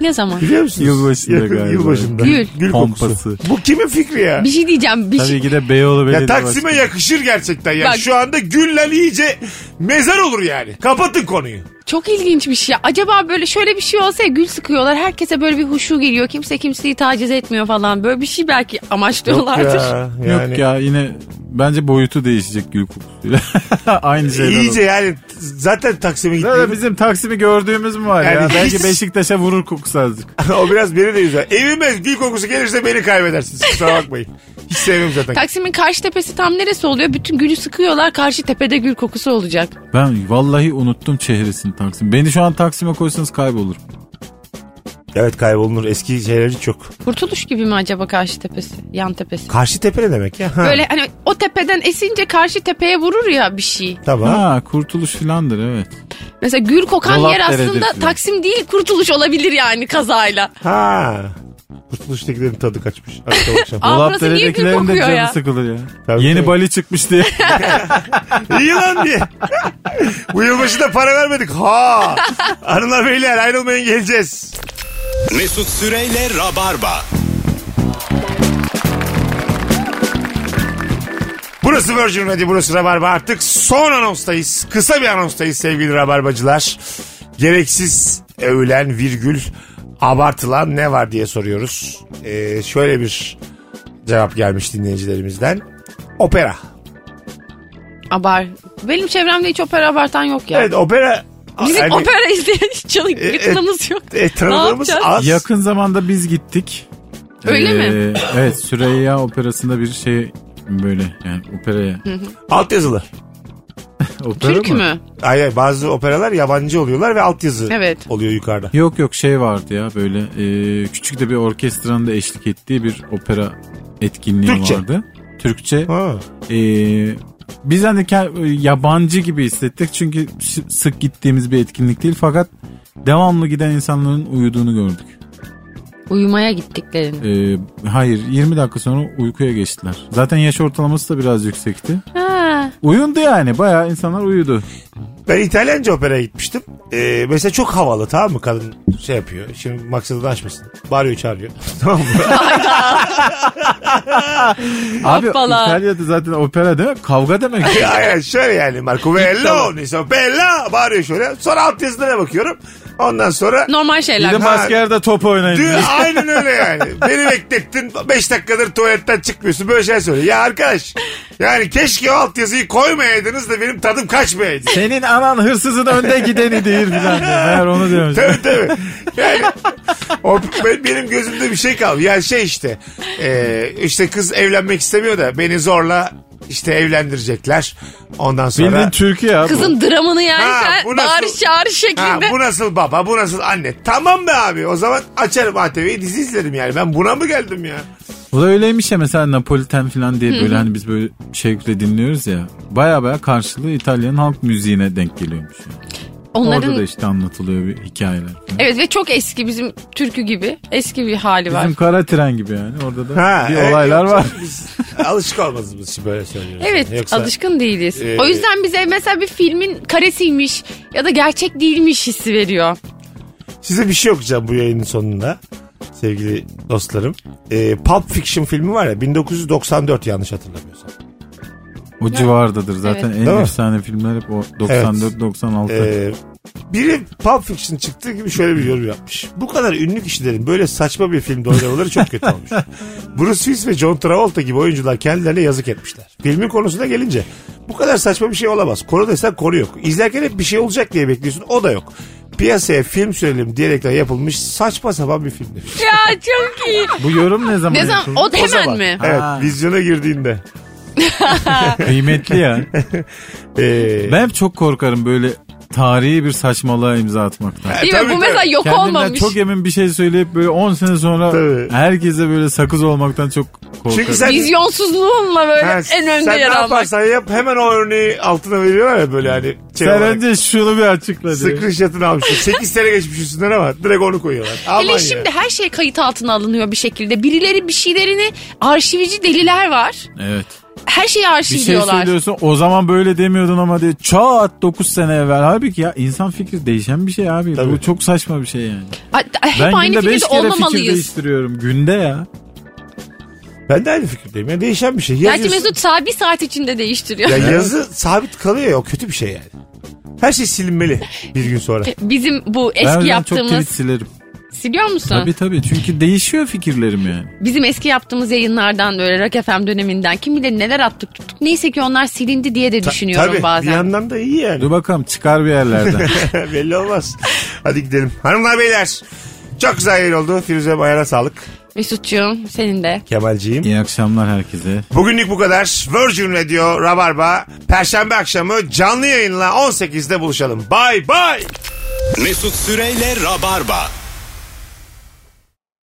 [SPEAKER 3] Ne zaman?
[SPEAKER 2] Biliyor musunuz?
[SPEAKER 4] Yılbaşında
[SPEAKER 2] Yakın
[SPEAKER 4] galiba.
[SPEAKER 2] Yılbaşında.
[SPEAKER 3] Gül.
[SPEAKER 2] kokusu.
[SPEAKER 4] Pompası.
[SPEAKER 2] Bu kimin fikri ya?
[SPEAKER 3] Bir şey diyeceğim. Bir
[SPEAKER 4] Tabii
[SPEAKER 3] şey...
[SPEAKER 4] ki de Beyoğlu
[SPEAKER 2] Ya
[SPEAKER 4] Belediye
[SPEAKER 2] Taksim'e
[SPEAKER 4] Başkanı.
[SPEAKER 2] yakışır gerçekten ya.
[SPEAKER 3] Bak.
[SPEAKER 2] Şu anda gülle iyice mezar olur yani. Kapatın konuyu.
[SPEAKER 3] Çok ilginç bir şey. Acaba böyle şöyle bir şey olsa ya, gül sıkıyorlar. Herkese böyle bir huşu geliyor. Kimse kimseyi taciz etmiyor falan. Böyle bir şey belki amaçlıyorlardır.
[SPEAKER 2] yani.
[SPEAKER 4] Yok ya yine bence boyutu değişecek gül kokusuyla. Aynı şeyler
[SPEAKER 2] İyice
[SPEAKER 4] oldu.
[SPEAKER 2] yani t- zaten Taksim'e
[SPEAKER 4] Nerede
[SPEAKER 2] gittim.
[SPEAKER 4] bizim Taksim'i gördüğümüz mü var
[SPEAKER 2] Yani
[SPEAKER 4] ya?
[SPEAKER 2] biz-
[SPEAKER 4] Belki Beşiktaş'a vurur kokusu azıcık.
[SPEAKER 2] o biraz beni de üzer. Evime gül kokusu gelirse beni kaybedersiniz. Kusura bakmayın. Hiç sevmem zaten.
[SPEAKER 3] Taksim'in karşı tepesi tam neresi oluyor? Bütün gülü sıkıyorlar. Karşı tepede gül kokusu olacak.
[SPEAKER 4] Ben vallahi unuttum çehresini Taksim. Beni şu an Taksim'e koysanız kaybolurum.
[SPEAKER 2] evet kaybolunur. Eski şeyleri çok.
[SPEAKER 3] Kurtuluş gibi mi acaba karşı tepesi? Yan tepesi.
[SPEAKER 2] Karşı tepe ne demek ya? Ha,
[SPEAKER 3] Böyle hani o tepeden esince karşı tepeye vurur ya bir şey.
[SPEAKER 2] Tamam.
[SPEAKER 4] Ha kurtuluş filandır evet.
[SPEAKER 3] Mesela gül kokan
[SPEAKER 4] Dolap
[SPEAKER 3] yer
[SPEAKER 4] deredir
[SPEAKER 3] aslında
[SPEAKER 4] filan.
[SPEAKER 3] Taksim değil kurtuluş olabilir yani kazayla.
[SPEAKER 2] Ha. Kurtuluştakilerin tadı kaçmış. Akşam akşam.
[SPEAKER 3] Aa, burası niye gül
[SPEAKER 4] Dolapdere'dekilerin de
[SPEAKER 3] kokuyor
[SPEAKER 4] canı
[SPEAKER 3] ya?
[SPEAKER 4] sıkılır ya.
[SPEAKER 2] Tabii,
[SPEAKER 4] Yeni
[SPEAKER 2] tabii.
[SPEAKER 4] bali çıkmış diye.
[SPEAKER 2] İyi lan diye. Bu yılbaşında para vermedik. Ha. Hanımlar beyler ayrılmayın geleceğiz.
[SPEAKER 1] Mesut Süreyle Rabarba.
[SPEAKER 2] Burası Virgin Radio, burası Rabarba. Artık son anonstayız. Kısa bir anonstayız sevgili Rabarbacılar. Gereksiz övülen virgül abartılan ne var diye soruyoruz. Ee, şöyle bir cevap gelmiş dinleyicilerimizden. Opera.
[SPEAKER 3] Abar. Benim çevremde hiç opera abartan yok ya.
[SPEAKER 2] Evet opera.
[SPEAKER 3] Bizim
[SPEAKER 2] yani,
[SPEAKER 3] opera izleyen hiç çalık
[SPEAKER 2] e,
[SPEAKER 3] yakınımız yok.
[SPEAKER 2] e, tanıdığımız
[SPEAKER 3] Ne yapacağız?
[SPEAKER 2] az.
[SPEAKER 4] Yakın zamanda biz gittik. Ee,
[SPEAKER 3] Öyle mi?
[SPEAKER 4] Evet Süreyya Operası'nda bir şey böyle yani operaya.
[SPEAKER 2] Altyazılı.
[SPEAKER 4] Opera
[SPEAKER 3] Türk
[SPEAKER 4] mı?
[SPEAKER 3] mü?
[SPEAKER 2] Ay, ay, bazı operalar yabancı oluyorlar ve altyazı
[SPEAKER 3] Evet.
[SPEAKER 2] oluyor yukarıda.
[SPEAKER 4] Yok yok şey vardı ya böyle e, küçük de bir orkestranın da eşlik ettiği bir opera etkinliği
[SPEAKER 2] Türkçe.
[SPEAKER 4] vardı. Türkçe.
[SPEAKER 2] Ha.
[SPEAKER 4] E, biz hani ke- yabancı gibi hissettik çünkü ş- sık gittiğimiz bir etkinlik değil fakat devamlı giden insanların uyuduğunu gördük.
[SPEAKER 3] Uyumaya gittiklerini.
[SPEAKER 4] E, hayır 20 dakika sonra uykuya geçtiler. Zaten yaş ortalaması da biraz yüksekti.
[SPEAKER 3] Ha.
[SPEAKER 4] Uyundu yani bayağı insanlar uyudu.
[SPEAKER 2] Ben İtalyanca operaya gitmiştim. Ee, mesela çok havalı tamam mı? Kadın şey yapıyor. Şimdi maksadını açmasın. Bağırıyor çağırıyor. tamam mı?
[SPEAKER 4] Abi
[SPEAKER 3] Hoppala.
[SPEAKER 4] İtalya'da zaten opera demek kavga demek.
[SPEAKER 2] ya, ya, şöyle yani Marco Bello. Neyse Bella bağırıyor şöyle. Sonra alt yazılara bakıyorum. Ondan sonra...
[SPEAKER 3] Normal
[SPEAKER 4] Bir
[SPEAKER 3] şeyler.
[SPEAKER 4] de başka yerde top oynayın.
[SPEAKER 2] Dü-
[SPEAKER 4] diyor.
[SPEAKER 2] aynen öyle yani. Beni beklettin. 5 dakikadır tuvaletten çıkmıyorsun. Böyle şey söyle. Ya arkadaş. Yani keşke o altyazıyı koymayaydınız da benim tadım kaçmayaydı.
[SPEAKER 4] Senin anan hırsızın önde gideni değil falan diyor. Meğer onu diyormuş.
[SPEAKER 2] tabii tabii. Yani o, ben- benim gözümde bir şey kaldı. Yani şey işte e, işte kız evlenmek istemiyor da beni zorla işte evlendirecekler. Ondan sonra
[SPEAKER 4] Bildiğin Türkiye abi.
[SPEAKER 3] Kızın dramını
[SPEAKER 2] Ha,
[SPEAKER 3] yerken
[SPEAKER 2] bu nasıl-
[SPEAKER 3] bağırış çağırış
[SPEAKER 2] ha,
[SPEAKER 3] şeklinde.
[SPEAKER 2] bu nasıl baba bu nasıl anne. Tamam be abi o zaman açarım ATV'yi dizi izlerim yani. Ben buna mı geldim ya?
[SPEAKER 4] Bu da öyleymiş ya mesela Napoliten falan diye böyle hani biz böyle şevkle dinliyoruz ya. Baya baya karşılığı İtalyan halk müziğine denk geliyormuş. yani.
[SPEAKER 3] Onların
[SPEAKER 4] Orada da işte anlatılıyor bir hikayeler. Falan.
[SPEAKER 3] Evet ve çok eski bizim türkü gibi. Eski bir hali Şey var.
[SPEAKER 4] Bizim kara tren gibi yani orada da
[SPEAKER 2] Ha,
[SPEAKER 4] bir
[SPEAKER 2] evet,
[SPEAKER 4] olaylar
[SPEAKER 2] yoksa
[SPEAKER 4] var.
[SPEAKER 2] Biz alışık olmazız biz böyle söylüyoruz.
[SPEAKER 3] Evet
[SPEAKER 2] Yoksa-
[SPEAKER 3] alışkın değiliz.
[SPEAKER 2] Ee,
[SPEAKER 3] o yüzden bize mesela bir filmin karesiymiş ya da gerçek değilmiş hissi veriyor.
[SPEAKER 2] Size bir şey okuyacağım bu yayının sonunda. sevgili dostlarım. E, Pulp Fiction filmi var ya 1994 yanlış hatırlamıyorsam.
[SPEAKER 4] O civardadır zaten en
[SPEAKER 2] Değil mi?
[SPEAKER 4] efsane filmler hep o 94-96.
[SPEAKER 2] Ee, biri Pulp Fiction çıktığı gibi şöyle bir yorum yapmış. Bu kadar ünlü kişilerin böyle saçma bir filmde oynamaları çok kötü olmuş. Bruce Willis ve John Travolta gibi oyuncular kendilerine yazık etmişler. Filmin konusuna gelince bu kadar saçma bir şey olamaz. Konu desen konu yok. İzlerken hep bir şey olacak diye bekliyorsun o da yok. Piyasaya film sürelim diyerekten yapılmış saçma sapan bir film demiş.
[SPEAKER 3] Ya çok iyi.
[SPEAKER 2] E,
[SPEAKER 4] Bu yorum ne zaman
[SPEAKER 3] Ne zaman?
[SPEAKER 4] yapıldı?
[SPEAKER 3] O hemen
[SPEAKER 4] zaman.
[SPEAKER 3] mi?
[SPEAKER 2] Evet
[SPEAKER 4] Ha,
[SPEAKER 2] vizyona girdiğinde.
[SPEAKER 4] Kıymetli ya.
[SPEAKER 2] Ee,
[SPEAKER 4] Ben hep çok korkarım böyle tarihi bir saçmalığa imza atmaktan.
[SPEAKER 3] Değil
[SPEAKER 2] E, tabii,
[SPEAKER 3] mi? Bu
[SPEAKER 2] tabii.
[SPEAKER 3] mesela yok
[SPEAKER 4] Kendimden
[SPEAKER 3] olmamış.
[SPEAKER 4] çok emin bir şey söyleyip böyle 10 sene sonra
[SPEAKER 2] Tabii.
[SPEAKER 4] herkese böyle sakız olmaktan çok korkarım.
[SPEAKER 2] Çünkü sen
[SPEAKER 3] Vizyonsuzluğunla böyle
[SPEAKER 2] Ha,
[SPEAKER 3] en önde
[SPEAKER 2] sen
[SPEAKER 3] yer
[SPEAKER 2] ne
[SPEAKER 3] almak.
[SPEAKER 2] yaparsan yap hemen o örneği altına veriyorlar ya böyle hani. şey
[SPEAKER 4] Sen
[SPEAKER 2] olarak.
[SPEAKER 4] önce şunu bir açıkla diyor.
[SPEAKER 2] Screenshot'ını almışsın. 8 sene geçmiş üstünden ama direkt onu koyuyorlar. Aman
[SPEAKER 3] Hele
[SPEAKER 2] ya.
[SPEAKER 3] şimdi her şey kayıt altına alınıyor bir şekilde. Birileri bir şeylerini arşivci deliler var.
[SPEAKER 4] Evet.
[SPEAKER 3] Her şeyi
[SPEAKER 4] Bir şey
[SPEAKER 3] arşivliyorlar.
[SPEAKER 4] söylüyorsun o zaman böyle demiyordun ama diye çat 9 sene evvel. Halbuki ya insan fikri değişen bir şey abi.
[SPEAKER 2] Tabii.
[SPEAKER 4] Bu çok saçma bir şey yani.
[SPEAKER 3] Ay, ay, Hep
[SPEAKER 4] ben
[SPEAKER 3] aynı
[SPEAKER 4] günde 5
[SPEAKER 3] fikirde
[SPEAKER 4] kere fikir
[SPEAKER 3] olmamalıyız.
[SPEAKER 4] değiştiriyorum. Günde ya.
[SPEAKER 2] Ben de aynı fikirdeyim. Ya değişen bir şey.
[SPEAKER 3] Belki
[SPEAKER 2] Yazıyorsun.
[SPEAKER 3] Mesut sağ bir saat içinde değiştiriyor.
[SPEAKER 2] Ya yazı sabit kalıyor ya o kötü bir şey yani. Her şey silinmeli bir gün sonra.
[SPEAKER 3] Bizim bu
[SPEAKER 4] ben
[SPEAKER 3] eski
[SPEAKER 4] öyle çok
[SPEAKER 3] yaptığımız
[SPEAKER 4] tweet silerim.
[SPEAKER 3] siliyor musun?
[SPEAKER 4] Tabii tabii çünkü değişiyor fikirlerim yani.
[SPEAKER 3] Bizim eski yaptığımız yayınlardan böyle Rock FM döneminden kim bilir neler attık tuttuk. Neyse ki onlar silindi diye de düşünüyorum
[SPEAKER 2] Tabii bir
[SPEAKER 3] bazen.
[SPEAKER 2] yandan da iyi yani.
[SPEAKER 4] Dur bakalım çıkar bir yerlerden.
[SPEAKER 2] Belli olmaz. Hadi gidelim. Hanımlar beyler. Çok güzel yayın oldu. Firuze Bayar'a sağlık.
[SPEAKER 3] Mesut'cuğum senin de.
[SPEAKER 2] Kemal'ciğim.
[SPEAKER 4] İyi akşamlar herkese.
[SPEAKER 2] Bugünlük bu kadar. Virgin Radio Rabarba. Perşembe akşamı canlı yayınla 18'de buluşalım. Bay bay.
[SPEAKER 1] Mesut Süreyle Rabarba.